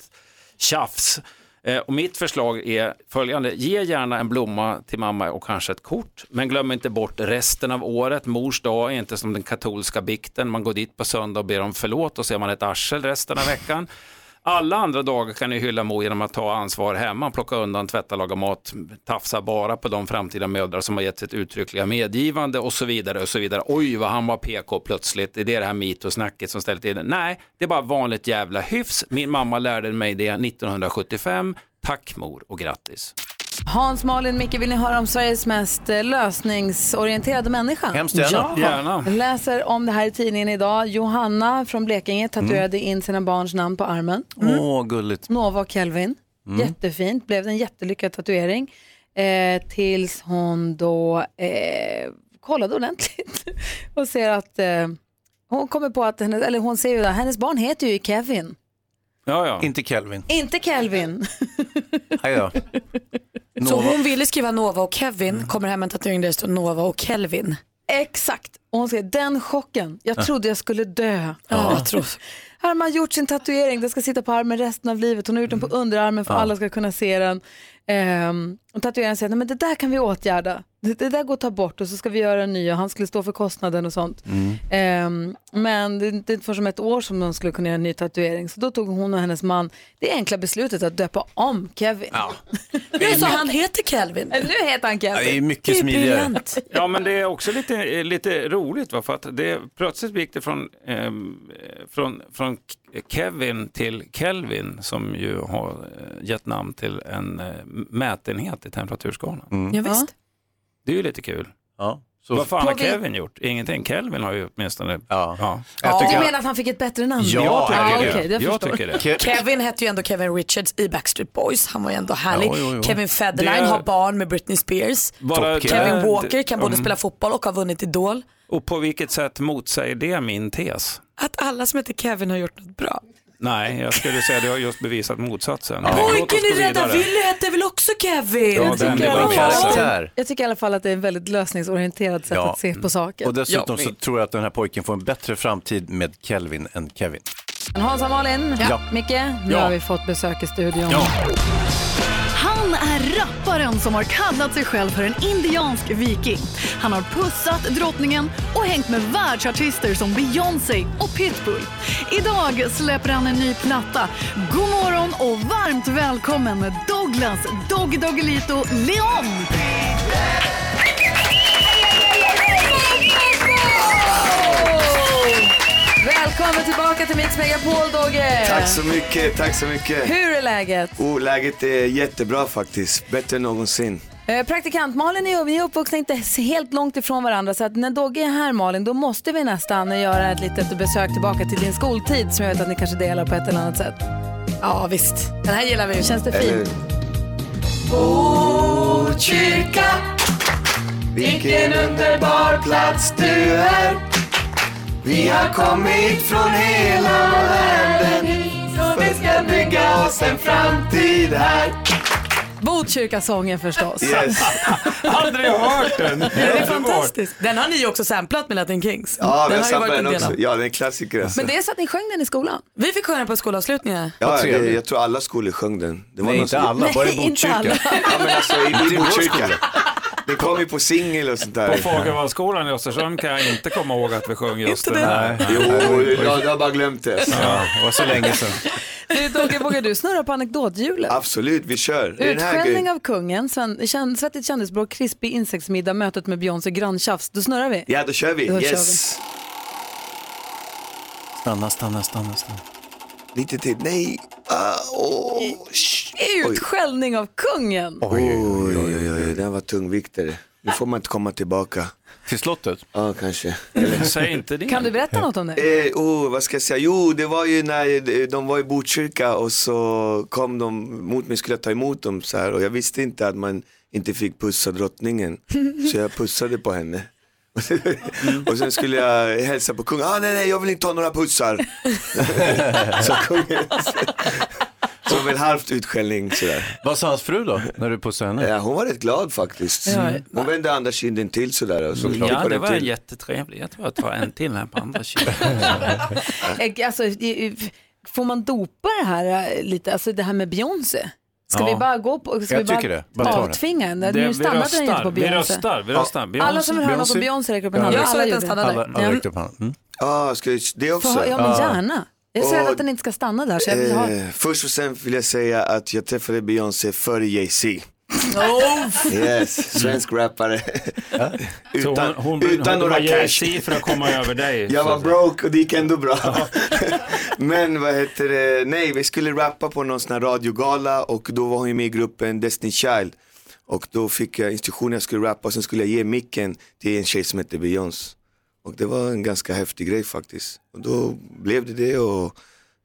Speaker 2: tjafs. Eh, och mitt förslag är följande, ge gärna en blomma till mamma och kanske ett kort, men glöm inte bort resten av året. Mors dag är inte som den katolska bikten, man går dit på söndag och ber om förlåt och ser man ett arsel resten av veckan. Alla andra dagar kan ni hylla mor genom att ta ansvar hemma, plocka undan, tvätta, laga mat, tafsa bara på de framtida mödrar som har gett sitt uttryckliga medgivande och så vidare. och så vidare. Oj, vad han var PK plötsligt. Det är det här metoo-snacket som ställt in det. Nej, det är bara vanligt jävla hyfs. Min mamma lärde mig det 1975. Tack mor och grattis.
Speaker 4: Hans, Malin, Micke, vill ni höra om Sveriges mest eh, lösningsorienterade människa?
Speaker 2: Hemskt gärna.
Speaker 4: Ja.
Speaker 2: Gärna.
Speaker 4: Jag läser om det här i tidningen idag. Johanna från Blekinge tatuerade in sina barns namn på armen.
Speaker 5: Åh, gulligt.
Speaker 4: Nova och Kelvin.
Speaker 5: Mm.
Speaker 4: Jättefint, blev en jättelyckad tatuering. Eh, tills hon då eh, kollade ordentligt och ser att eh, hon kommer på att, hennes, eller hon ser ju att hennes barn heter ju Kevin,
Speaker 2: Ja, ja.
Speaker 5: Inte Kelvin.
Speaker 4: inte Kelvin.
Speaker 5: Aj då.
Speaker 1: Så
Speaker 5: Nova.
Speaker 1: hon ville skriva Nova och Kevin, kommer hem med en tatuering där det står Nova och Kelvin.
Speaker 4: Exakt, och hon säger den chocken, jag
Speaker 1: Ja.
Speaker 4: trodde jag skulle dö.
Speaker 1: Ja, jag tror-
Speaker 4: Här har man gjort sin tatuering, den ska sitta på armen resten av livet. Hon har gjort den på
Speaker 2: Mm.
Speaker 4: underarmen för
Speaker 1: Ja.
Speaker 4: alla ska kunna se den. Ehm, och tatueraren säger, nej men det där kan vi åtgärda. Det, det där går att ta bort och så ska vi göra en ny och han skulle stå för kostnaden och sånt.
Speaker 2: Mm.
Speaker 4: Ehm, men det är inte förrän som ett år som de skulle kunna göra en ny tatuering. Så då tog hon och hennes man det enkla beslutet att döpa om Kevin.
Speaker 1: Nu så han heter Kelvin.
Speaker 4: Nu heter han Kevin.
Speaker 2: Ja, men det är också lite, eh, lite roligt, va? för att det, plötsligt gick det från, ehm, eh, från, från K- Kevin till Kelvin, som ju har eh, gett namn till en eh, mätenhet i temperaturskalan.
Speaker 1: Ja, visst.
Speaker 2: Det är ju lite kul.
Speaker 5: Ja.
Speaker 2: Vad fan har
Speaker 4: På vil-
Speaker 2: Kevin gjort? Ingenting. Kelvin har ju åtminstone... Ja.
Speaker 4: Ja, du menar att han fick ett bättre namn?
Speaker 2: Ja, jag tycker
Speaker 4: ah,
Speaker 2: det.
Speaker 4: okej,
Speaker 2: Jag
Speaker 4: förstår.
Speaker 2: tycker det.
Speaker 1: Kevin hette ju ändå Kevin Richards i Backstreet Boys. Han var ju ändå härlig.
Speaker 2: Jo, jo, jo.
Speaker 1: Kevin Federline
Speaker 2: Det är-
Speaker 1: har barn med Britney Spears.
Speaker 2: Bara-
Speaker 1: Kevin
Speaker 2: det-
Speaker 1: Walker kan både
Speaker 2: Mm.
Speaker 1: spela fotboll och har vunnit Idol.
Speaker 2: Och på vilket sätt motsäger det min tes?
Speaker 1: Att alla som heter Kevin har gjort något bra.
Speaker 2: Nej, jag skulle säga att du har just bevisat motsatsen. Låt
Speaker 1: Pojken
Speaker 2: oss
Speaker 1: i
Speaker 2: gå
Speaker 1: Rädda
Speaker 2: vidare.
Speaker 1: Willy hette väl också Kevin?
Speaker 2: Ja,
Speaker 4: Jag
Speaker 2: den
Speaker 4: tycker
Speaker 2: är
Speaker 4: i alla
Speaker 2: bra.
Speaker 4: fall-
Speaker 5: Karaktär.
Speaker 4: Jag tycker i alla fall att det är en väldigt lösningsorienterat sätt
Speaker 5: Ja.
Speaker 4: att se på saken.
Speaker 5: Och dessutom så tror jag att den här pojken får en bättre framtid med Kelvin än Kevin.
Speaker 4: Hansa Malin,
Speaker 5: Ja.
Speaker 4: Micke, nu
Speaker 5: Ja.
Speaker 4: har vi fått besök i studion.
Speaker 5: Ja.
Speaker 27: Han
Speaker 6: är rapparen som har kallat sig själv för en indiansk viking. Han har pussat drottningen och hängt med världsartister som Beyoncé och Pitbull. Idag släpper han en ny platta. God morgon och varmt välkommen Douglas Doggy Doggelito Leon!
Speaker 4: Välkommen tillbaka till Mix Megapol, Dogge!
Speaker 28: Tack så mycket, tack så mycket.
Speaker 4: Hur är läget?
Speaker 28: Oh, läget är jättebra faktiskt, bättre än någonsin.
Speaker 4: Eh, Praktikant Malin är, vi är uppvuxna inte s- helt långt ifrån varandra så att när Dogge är här Malin då måste vi nästan göra ett litet besök tillbaka till din skoltid som jag vet att ni kanske delar på ett eller annat sätt. Ja visst, den här gillar vi. Känns det fint?
Speaker 6: Botkyrka,
Speaker 28: vilken underbar plats du är. Vi har kommit från hela världen så vi ska bygga oss en framtid här.
Speaker 4: Botkyrkasången förstås.
Speaker 28: Yes.
Speaker 2: Aldrig hört den.
Speaker 1: Det är fantastiskt. Den har ni också samplat med Latin Kings.
Speaker 28: Ja, vi
Speaker 1: den har ju
Speaker 28: har samlat
Speaker 1: varit en
Speaker 28: den
Speaker 1: del
Speaker 28: också.
Speaker 1: av.
Speaker 28: Ja, den är en klassiker alltså.
Speaker 4: Men det är så att ni sjöng den i skolan?
Speaker 1: Vi fick sjunga på skolavslutningar.
Speaker 28: Ja,
Speaker 1: Vad
Speaker 28: det, jag tror alla skolor sjöng den. Det
Speaker 1: Nej,
Speaker 28: någon
Speaker 1: inte
Speaker 28: som-
Speaker 1: alla, bara i Nej, inte alla. Botkyrka.
Speaker 28: ja, men alltså, i,
Speaker 2: Inte i
Speaker 28: i
Speaker 2: vår
Speaker 28: Botkyrka.
Speaker 2: skola.
Speaker 28: Det kom ju på singel och sånt där.
Speaker 2: På Fagervallskolan i Östersund kan jag inte komma ihåg att vi sjöng just den här.
Speaker 28: Jo, jag, jag har bara glömt det.
Speaker 2: Ja, det var så länge sedan.
Speaker 4: Du, Dogge, vågar du snurra på anekdothjulet?
Speaker 28: Absolut, vi kör. Det är den här
Speaker 4: Utskällning
Speaker 28: grejen.
Speaker 4: av kungen, sven, känn, svettigt kändisbråk, krispig insektsmiddag, mötet med Beyoncé, granntjafs. Då snurrar vi.
Speaker 28: Ja, då kör vi.
Speaker 4: Då kör
Speaker 28: yes.
Speaker 5: Stanna, stanna, stanna, stanna.
Speaker 28: Lite till. Nej. Ah, åh. shh.
Speaker 4: Utskällning av kungen.
Speaker 28: Oj, oj, oj, oj, oj, den var tungviktare. Nu får man inte komma tillbaka.
Speaker 5: Till slottet?
Speaker 28: Ja, kanske.
Speaker 2: Säg inte det.
Speaker 4: Kan du berätta något om det?
Speaker 28: Eh, oh, vad ska jag säga? Jo, det var ju när eh, de var i Botkyrka och så kom de mot mig, skulle jag ta emot dem så här och jag visste inte att man inte fick pussa drottningen. Så jag pussade på henne. och sen skulle jag hälsa på kungen, ah, nej nej jag vill inte ha några pussar. så kungen, som väl halvt utskällning sådär.
Speaker 5: Vad sa hans fru då, när du pussade henne?
Speaker 28: Ja, hon var rätt glad faktiskt.
Speaker 2: Ja. Mm.
Speaker 28: Hon vände andra kinden till sådär. Och så
Speaker 2: Ja,
Speaker 28: knoppade
Speaker 2: det
Speaker 28: den
Speaker 2: var
Speaker 28: till.
Speaker 2: jättetrevligt. Jag tror jag tar en till här på andra kinden.
Speaker 4: Eh, Alltså, i- i- får man dopa det här eh, lite, alltså det här med Beyoncé? Ska
Speaker 2: Ja.
Speaker 4: vi bara gå på, ska
Speaker 2: Jag
Speaker 4: vi bara
Speaker 2: tycker det. Bara ta det.
Speaker 4: avtvinga henne?
Speaker 2: Det-
Speaker 4: Nu
Speaker 2: vi
Speaker 4: stannade den ju inte
Speaker 2: röstar.
Speaker 4: på
Speaker 2: Vi
Speaker 4: Beyoncé.
Speaker 2: röstar, vi röstar. Beyoncé.
Speaker 4: Alla som vill höra något om Beyoncé räcker upp en hand.
Speaker 28: Ja. Jag
Speaker 4: Alla
Speaker 28: såg att den
Speaker 4: gjorde det.
Speaker 28: stannade där.
Speaker 5: Alla räckte upp handen. Mm.
Speaker 28: Ja, Ah, ska jag- det också?
Speaker 4: Får- Ja, men gärna. Jag är så rädd
Speaker 28: Och-
Speaker 4: att den inte ska stanna där. Så Alltså, jag vill ha...
Speaker 28: Eh, först och sen vill jag säga att jag träffade Beyoncé före Jay-Z.
Speaker 4: Oh!
Speaker 28: Yes, svensk rappare.
Speaker 2: Så
Speaker 28: utan
Speaker 2: hon, hon,
Speaker 28: utan
Speaker 2: hon,
Speaker 28: några
Speaker 2: hon
Speaker 28: cash.
Speaker 2: cash. för att komma över dig.
Speaker 28: Jag
Speaker 2: så
Speaker 28: var
Speaker 2: att-
Speaker 28: broke och det gick ändå bra. Men vad heter det, nej vi skulle rappa på någon sån här radiogala och då var hon ju med i gruppen Destiny Child. Och då fick jag instruktioner, jag skulle rappa och sen skulle jag ge micken till en tjej som hette Beyoncé. Och det var en ganska häftig grej faktiskt. Och då blev det det och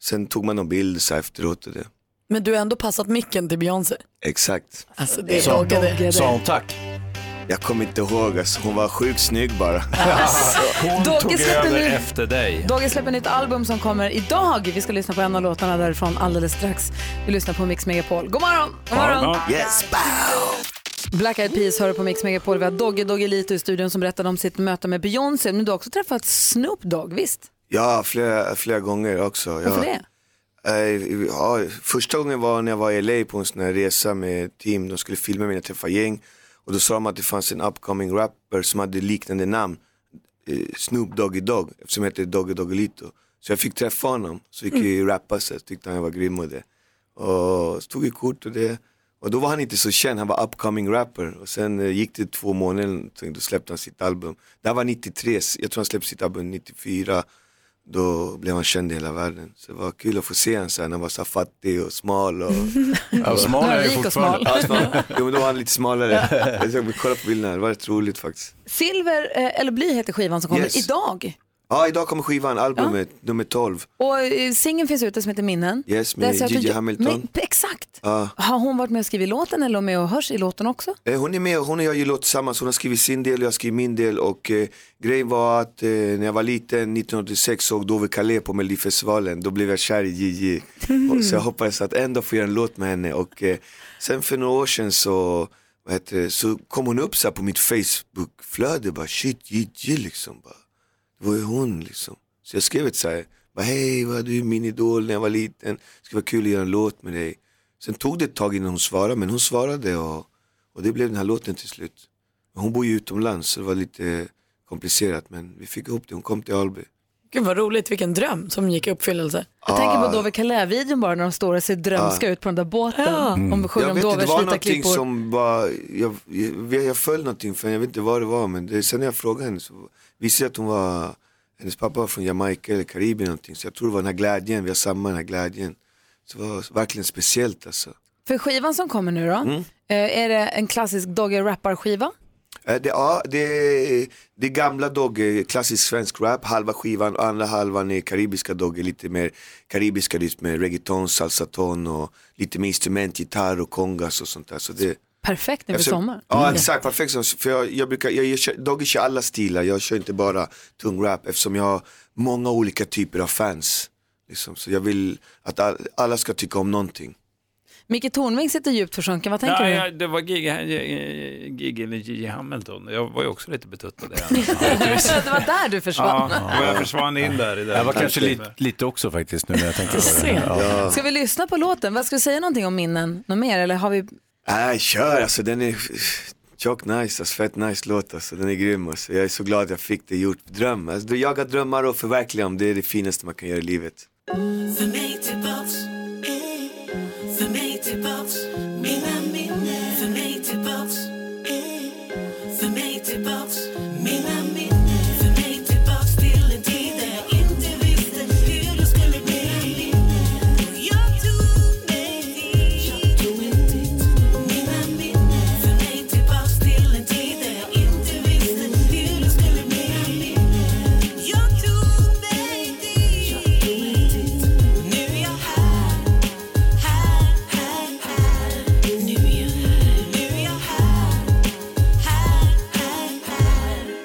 Speaker 28: sen tog man någon bild så här efteråt och det.
Speaker 1: Men du har ändå passat micken till Beyoncé.
Speaker 28: Exakt.
Speaker 1: Alltså det är Dogge det.
Speaker 28: tack? Jag kommer inte ihåg, alltså, hon var sjukt snygg bara.
Speaker 2: Hon
Speaker 4: Dogge
Speaker 2: tog
Speaker 4: släpper
Speaker 2: över
Speaker 4: nu.
Speaker 2: efter dig.
Speaker 4: Dogge släpper nytt album som kommer idag. Vi ska lyssna på en av låtarna därifrån alldeles strax. Vi lyssnar på Mix Megapol. God morgon! God morgon!
Speaker 28: Yes,
Speaker 4: Black Eyed Peas hör på Mix Megapol. Vi har Dogge Doggelito i studion som berättade om sitt möte med Beyoncé. Men du har också träffat Snoop Dogg, visst?
Speaker 28: Ja, flera, flera gånger också. Jag,
Speaker 4: Varför det?
Speaker 28: Eh, ja, första gången var när jag var i LA på en sån här resa med ett team. De skulle filma mig när jag träffade gäng. Och då sa de att det fanns en upcoming rapper som hade liknande namn. Eh, Snoop Doggy Dogg, eftersom jag heter Doggy Doggelito. Så jag fick träffa honom, så fick jag ju rappa så jag tyckte han jag var grym och det. Och så tog jag kort och det. Och då var han inte så känd, han var upcoming rapper. Och sen eh, gick det två månader, eller någonting, då släppte han sitt album. Det här var 93, jag tror han släppte sitt album 94 då blev han känd i hela världen. Så det var kul att få se honom så här, när han var så här fattig och smal. Och,
Speaker 5: Ja, smal är han ju Rik och smal.
Speaker 28: Ja,
Speaker 5: fortfarande.
Speaker 28: smal. Jo, men då var han lite smalare. Jag såg- Kolla på bilderna, det var rätt roligt faktiskt.
Speaker 4: Silver eh, eller bly heter skivan som kommer
Speaker 28: Yes.
Speaker 4: idag.
Speaker 28: Ja, idag kommer skivan, albumet, nummer 12.
Speaker 4: Och eh, singeln finns ute som heter Minnen.
Speaker 28: Yes,
Speaker 4: Där
Speaker 28: med
Speaker 4: ser jag att
Speaker 28: Gigi
Speaker 4: du-
Speaker 28: Hamilton.
Speaker 4: Men, exakt.
Speaker 28: Ja.
Speaker 4: Har hon varit med och skrivit låten eller med och hörs i låten också?
Speaker 28: Eh, Hon är med, hon och jag gör låt tillsammans, hon har skrivit sin del och jag har skrivit min del och eh, grejen var att eh, när jag var liten 1986 såg Dove Kalle på Melodifestivalen, då blev jag kär i Gigi. Och, så jag hoppades att en dag få göra en låt med henne och eh, sen för några år sedan så, vad heter det, så kom hon upp så här på mitt Facebookflöde bara shit Gigi liksom. Bara. Det var ju hon liksom. Så jag skrev ett så här, bara, hej vad är du är min idol när jag var liten, det skulle vara kul att göra en låt med dig. Sen tog det ett tag innan hon svarade, men hon svarade och, och det blev den här låten till slut. Men Hon bor ju utomlands, så det var lite komplicerat, men vi fick ihop det. Hon kom till Alby.
Speaker 1: Gud vad roligt, vilken dröm som gick i uppfyllelse.
Speaker 4: Jag tänker
Speaker 28: Ah.
Speaker 4: på Dover Calais-videon bara när de står och ser drömska
Speaker 28: Ah. Mm.
Speaker 4: ut på den där båten. Om sjunger
Speaker 28: jag vet inte,
Speaker 4: om
Speaker 28: det
Speaker 4: Dovers
Speaker 28: var
Speaker 4: vita
Speaker 28: någonting
Speaker 4: klippor.
Speaker 28: som bara, jag, jag, jag föll någonting för jag vet inte vad det var men det, sen när jag frågade henne så visade jag att hon var, hennes pappa var från Jamaica eller Karibien någonting så jag tror det var den här glädjen, vi har samma den här glädjen. Så det var verkligen speciellt alltså.
Speaker 4: För skivan som kommer nu då,
Speaker 28: Mm.
Speaker 4: eh, är det en klassisk Dogge rappar-skiva?
Speaker 28: Eh, Det, ja, det, det är gamla Dogge, klassisk svensk rap, halva skivan och andra halvan är karibiska Dogge, lite mer karibiska rytmer, reggaeton, salsaton och lite med instrument, gitarr och kongas och sånt där. Så det,
Speaker 4: Perfekt inför
Speaker 28: Eftersom-
Speaker 4: sommar.
Speaker 28: Ja exakt, perfekt. som- För jag, jag brukar, jag, jag, Doggy kör alla stilar, jag kör inte bara tung rap eftersom jag har många olika typer av fans. Liksom. Så jag vill att all, alla ska tycka om någonting.
Speaker 4: Micke Tornving sitter djupt försjunken, vad tänker
Speaker 2: Nej,
Speaker 4: du?
Speaker 2: jag- det var Gigi, eh, Gigi eller Gigi Hamilton. Jag var ju också lite betuttad. i henne.
Speaker 4: det var där du försvann.
Speaker 2: Ja, och jag försvann in där. I det
Speaker 5: Jag var kanske lite, lite också faktiskt nu när jag tänker på det. Ja.
Speaker 4: Ska vi lyssna på låten? Vad ska vi säga någonting om minnen? Något mer? Eller har vi...
Speaker 28: Nej, kör alltså, den är tjock nice, alltså, fett nice låt alltså, den är grym alltså. Jag är så glad att jag fick det gjort, dröm. Alltså, du jagar drömmar och förverkliga dem, det är det finaste man kan göra i livet.
Speaker 3: För mig tillbaks eh. För mig tillbaks Mina minnen För mig tillbaks eh. För mig tillbaks Mina minnen För mig tillbaks till en tid där jag inte visste hur det skulle bli Jag tog mig dit Jag tog mig dit Mina minnen För mig tillbaks till en tid där jag inte visste hur det skulle bli Jag tog mig dit Jag tog mig dit nu är jag här, här, här, här. Nu är jag här, nu är jag här, här, här, här.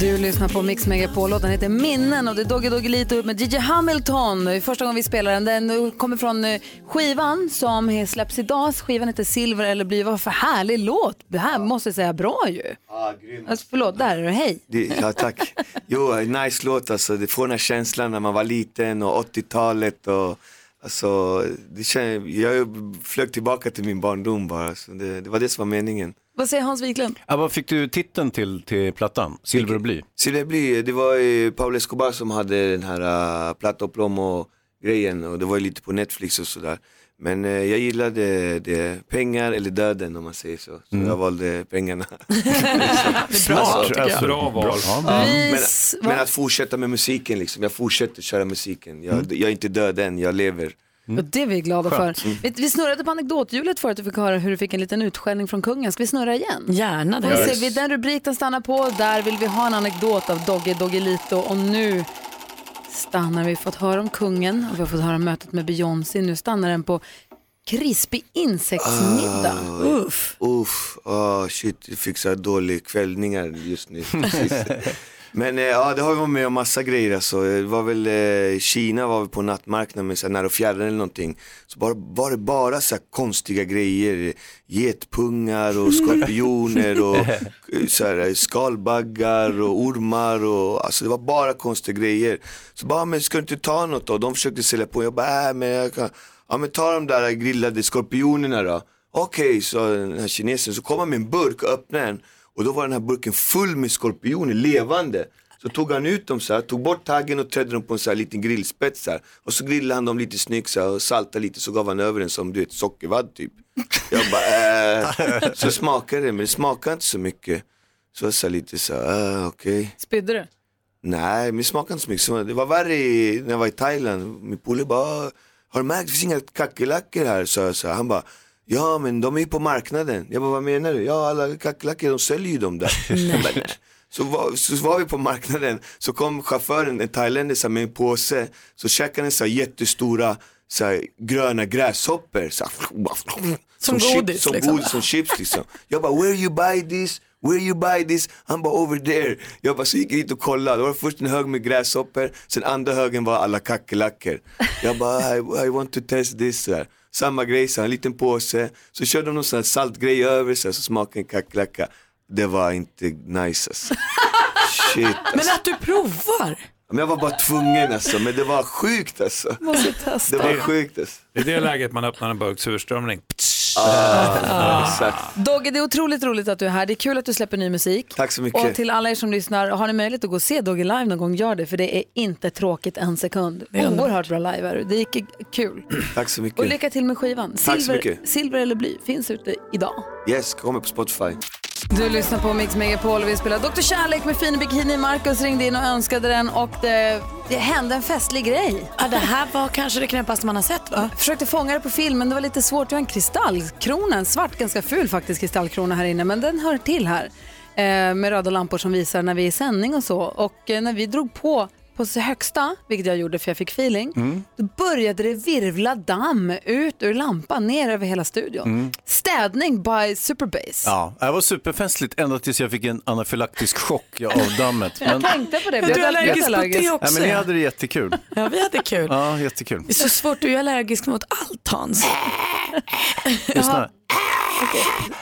Speaker 4: Du lyssnar på Mix Megapol, låten heter Minnen och det är Dogge Doggelito med Gigi Hamilton. Det är första gången vi spelar den. Den kommer från eh, skivan som släpps idag. Skivan heter Silver eller bly. Vad för härlig låt! Det här måste jag säga bra ju.
Speaker 28: Ah, grym.
Speaker 4: Alltså, förlåt, där är du. Hej!
Speaker 28: Det, ja, tack. Jo, nice låt alltså. Det får den här känslan när man var liten och 80-talet och alltså, det kän- jag flög tillbaka till min barndom bara. Så det, det var det som var meningen.
Speaker 4: Vad säger Hans Wiklund?
Speaker 5: Ja, vad fick du titeln till, till plattan? Silver och bly?
Speaker 28: Så det, blir, det var ju Pablo Escobar som hade den här uh, Plata och Plomo grejen och det var ju lite på Netflix och sådär. Men eh, jag gillade det, pengar eller döden om man säger så. Så jag valde pengarna.
Speaker 2: tycker jag. Alltså, bra val.
Speaker 28: Ja.
Speaker 2: Vi
Speaker 28: Men,
Speaker 2: s-
Speaker 28: men att fortsätta med musiken liksom, jag fortsätter köra musiken. Jag, jag är inte död än, jag lever.
Speaker 4: Och det är vi glada
Speaker 28: Mm. Skönt.
Speaker 4: för.
Speaker 28: Mm.
Speaker 4: Vi, vi snurrade på anekdothjulet förut och fick höra hur du fick en liten utskällning från kungen. Ska vi snurra igen?
Speaker 1: Gärna
Speaker 4: det.
Speaker 1: det.
Speaker 4: Vi
Speaker 1: Yes.
Speaker 4: ser, vi, den rubrik den stannar på, där vill vi ha en anekdot av Dogge Doggelito. Och nu stannar vi. Vi har fått höra om kungen och vi har fått höra om mötet med Beyoncé. Nu stannar den på krispig insektsmiddag. Uff.
Speaker 28: Uff. Uff. ah shit, jag fick så här dåliga kvällningar just nu. Precis. Men eh, ja, det har vi varit med om massa grejer alltså. Det var väl, eh, Kina var vi på nattmarknad med så här, när och fjärran eller någonting. Så bara, var det bara så här konstiga grejer. Getpungar och skorpioner och eh, så här, eh, skalbaggar och ormar och alltså det var bara konstiga grejer. Så bara, "Ah, men ska du inte ta något då? De försökte sälja på. Jag bara, äh, men jag kan... Ja men ta de där grillade skorpionerna då. Okej, sa den här kinesen. Så kom han med en burk och öppnade den. Och då var den här burken full med skorpioner, levande. Så tog han ut dem så här, tog bort taggen och trädde dem på en så här liten grillspets så här. Och så grillade han dem lite snyggt så här, och saltade lite så gav han över den som du vet sockervadd typ. Jag bara äh. Så smakade det, men det smakade inte så mycket. Så jag sa lite så här, äh, okej.
Speaker 4: Spydde du?
Speaker 28: Nej, men det smakade inte så mycket. Så Det var värre i, när jag var i Thailand. Min polare bara, har du märkt, det finns inga kackerlackor här, sa jag. Så här. Han bara, ja men de är ju på marknaden. Jag bara, vad menar du? Ja, alla kackerlackor, de säljer ju dem där. Jag bara, "Nej." Så var, så var vi på marknaden, så kom chauffören, en thailändare, så här, med en påse. Så käkade han så här, jättestora så här, gröna gräshoppor. Så här,
Speaker 1: Som godis,
Speaker 28: chips, som
Speaker 1: liksom.
Speaker 28: godis, som chips liksom. Jag bara, where you buy this? Where you buy this? Han bara over there. Jag bara, så gick jag dit och kollade. Det var först en hög med gräshoppor, sen andra högen var alla kackerlackor. Jag bara, I, I want to test this. Så här. Samma grej, så här, en liten påse. Så körde de någon sån här saltgrej över så, här, så smakade en kackerlacka. Det var inte nice alltså. Shit.
Speaker 1: Men att du provar!
Speaker 28: Men jag var bara tvungen alltså, men det var sjukt alltså.
Speaker 4: Måste testa.
Speaker 28: Det var sjukt alltså.
Speaker 2: I det läget man öppnar en burk surströmming.
Speaker 28: Ah,
Speaker 4: Ah.
Speaker 28: exakt.
Speaker 4: Dogge, det är otroligt roligt att du är här. Det är kul att du släpper ny musik.
Speaker 28: Tack så mycket.
Speaker 4: Och till alla er som lyssnar, har ni möjlighet att gå och se Dogge live någon gång, gör det. För det är inte tråkigt en sekund. Oerhört bra live är du. Det gick kul.
Speaker 28: Tack så mycket.
Speaker 4: Och lycka till med skivan.
Speaker 28: Tack så
Speaker 4: Silver,
Speaker 28: mycket.
Speaker 4: silver eller bly finns ute idag.
Speaker 28: Yes, kommer på Spotify.
Speaker 4: Du lyssnar på Mix Megapol och vi spelar Dr Kärlek med fin bikini. Markus ringde in och önskade den och det, det hände en festlig grej.
Speaker 1: Ja, det här var kanske det knäppaste man har sett va?
Speaker 4: Försökte fånga det på film men det var lite svårt. Du har en kristallkrona, en svart, ganska ful faktiskt kristallkrona här inne men den hör till här. Eh, med röda lampor som visar när vi är i sändning och så. Och eh, när vi drog på på så högsta, vilket jag gjorde för jag fick feeling,
Speaker 5: Mm.
Speaker 4: då började det virvla damm ut ur lampan ner över hela studion.
Speaker 5: Mm.
Speaker 4: Städning by Superbase.
Speaker 5: Ja, det var superfestligt ända tills jag fick en anafylaktisk chock av dammet.
Speaker 4: Jag tänkte på det. Blev du allergisk på det
Speaker 5: Nej, men ni hade det jättekul.
Speaker 1: Ja, vi hade kul.
Speaker 5: Ja, jättekul.
Speaker 1: Det är så svårt, du är allergisk mot allt
Speaker 15: Äh,
Speaker 1: Hans.
Speaker 5: Lyssna.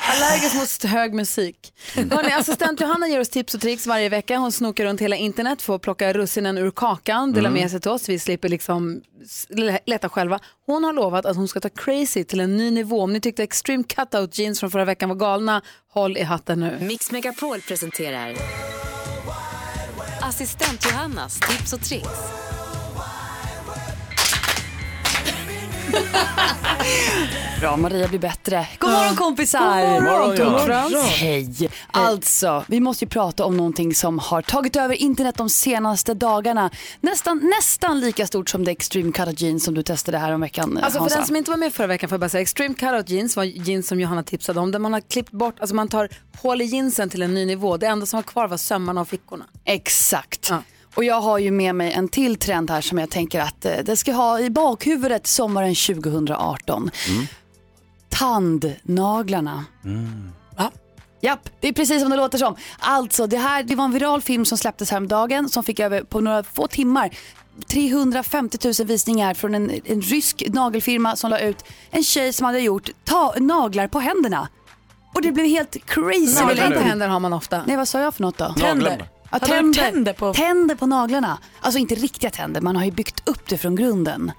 Speaker 4: Allergisk mot hög musik.
Speaker 15: Mm.
Speaker 4: Hörrni, assistent Johanna ger oss tips och tricks varje vecka. Hon snokar runt hela internet för att plocka russinen ur kakan, dela
Speaker 15: Mm.
Speaker 4: med sig till oss. Vi slipper liksom s- le- leta själva. Hon har lovat att hon ska ta crazy till en ny nivå. Om ni tyckte extreme cutout jeans från förra veckan var galna, håll i hatten nu.
Speaker 27: Mix Megapol presenterar Assistent Johannas tips och tricks.
Speaker 15: Bra, Maria blir bättre. God morgon kompisar!
Speaker 4: God morgon, God morgon, Jonas.
Speaker 15: Hej! Alltså, vi måste ju prata om någonting som har tagit över internet de senaste dagarna. Nästan, nästan lika stort som det Extreme Cut Jeans som du testade här om veckan
Speaker 4: Alltså för
Speaker 15: Hansa.
Speaker 4: den som inte var med förra veckan får jag bara säga extreme cutout jeans var jeans som Johanna tipsade om där man har klippt bort, alltså man tar hål i jeansen till en ny nivå. Det enda som var kvar var sömmarna och fickorna.
Speaker 15: Exakt. Och jag har ju med mig en till trend här som jag tänker att eh, det ska ha i bakhuvudet sommaren 2018. Tandnaglarna. Va? Japp, det är precis som det låter som. Alltså, det här det var en viral film som släpptes häromdagen som fick över på några få timmar 350 000 visningar från en, en rysk nagelfirma som la ut en tjej som hade gjort ta- naglar på händerna. Och det blev helt crazy.
Speaker 4: Naglar
Speaker 15: Tänk-
Speaker 4: på händer har man ofta.
Speaker 15: Nej, vad sa jag för något då?
Speaker 4: Tänder. Naglarna.
Speaker 15: Ja,
Speaker 4: Hade du haft
Speaker 15: tänder.
Speaker 4: tänder
Speaker 15: Tänder, på... naglarna. Alltså inte riktiga tänder, man har ju byggt upp det från grunden.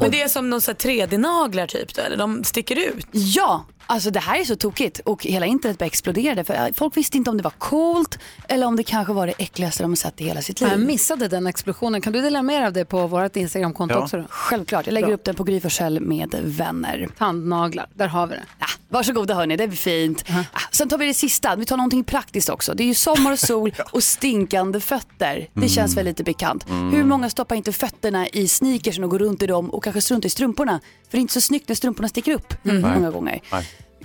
Speaker 1: Men det är som någon 3D-naglar typ då, eller de sticker ut.
Speaker 15: Ja, alltså det här är så tokigt och hela internet bara exploderade för äh, folk visste inte om det var coolt eller om det kanske var det äckligaste de har sett i hela sitt liv.
Speaker 4: Jag missade den explosionen. Kan du dela med dig av det på vårt Instagramkonto också? Då?
Speaker 15: Självklart, jag lägger upp den på Gry Forssell med vänner.
Speaker 4: Tandnaglar, där har vi det.
Speaker 15: Ja, Ah, varsågoda hörni, det blir fint. Ah, Sen tar vi det sista, vi tar någonting praktiskt också. Det är ju sommar och sol och stinkande fötter. Det
Speaker 4: Mm.
Speaker 15: känns väl lite bekant.
Speaker 4: Mm.
Speaker 15: Hur många stoppar inte fötterna i sneakersen och går runt i dem och kanske struntar i strumporna? För det är inte så snyggt när strumporna sticker upp
Speaker 4: Mm.
Speaker 15: många gånger.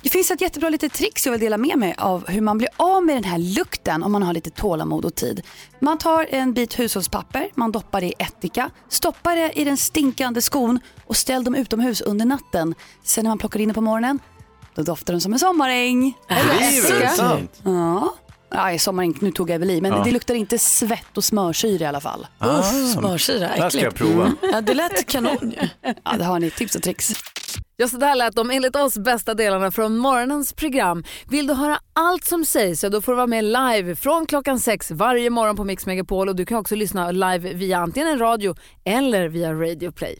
Speaker 15: Det finns ett jättebra litet trick som jag vill dela med mig av hur man blir av med den här lukten om man har lite tålamod och tid. Man tar en bit hushållspapper, man doppar det i ättika, stoppar det i den stinkande skon och ställ dem utomhus under natten. Sen när man plockar in det på morgonen, då doftar den som en sommaräng. Eller
Speaker 3: Driver du?
Speaker 15: ättika.
Speaker 3: Sant?
Speaker 15: Ja. Nej, sommaräng, nu tog jag väl i, men
Speaker 1: Ja.
Speaker 15: det luktar inte svett och smörsyra i alla fall.
Speaker 1: Ah, Uff, smörsyra, det här ska jag äckligt. prova. Mm. Ja, det lät kanon ju.
Speaker 15: Ja, det har ni tips och tricks.
Speaker 4: Ja, så där lät de enligt oss bästa delarna från morgonens program. Vill du höra allt som sägs så då får du vara med live från klockan sex varje morgon på Mix Megapol och du kan också lyssna live via antingen en radio eller via Radio Play.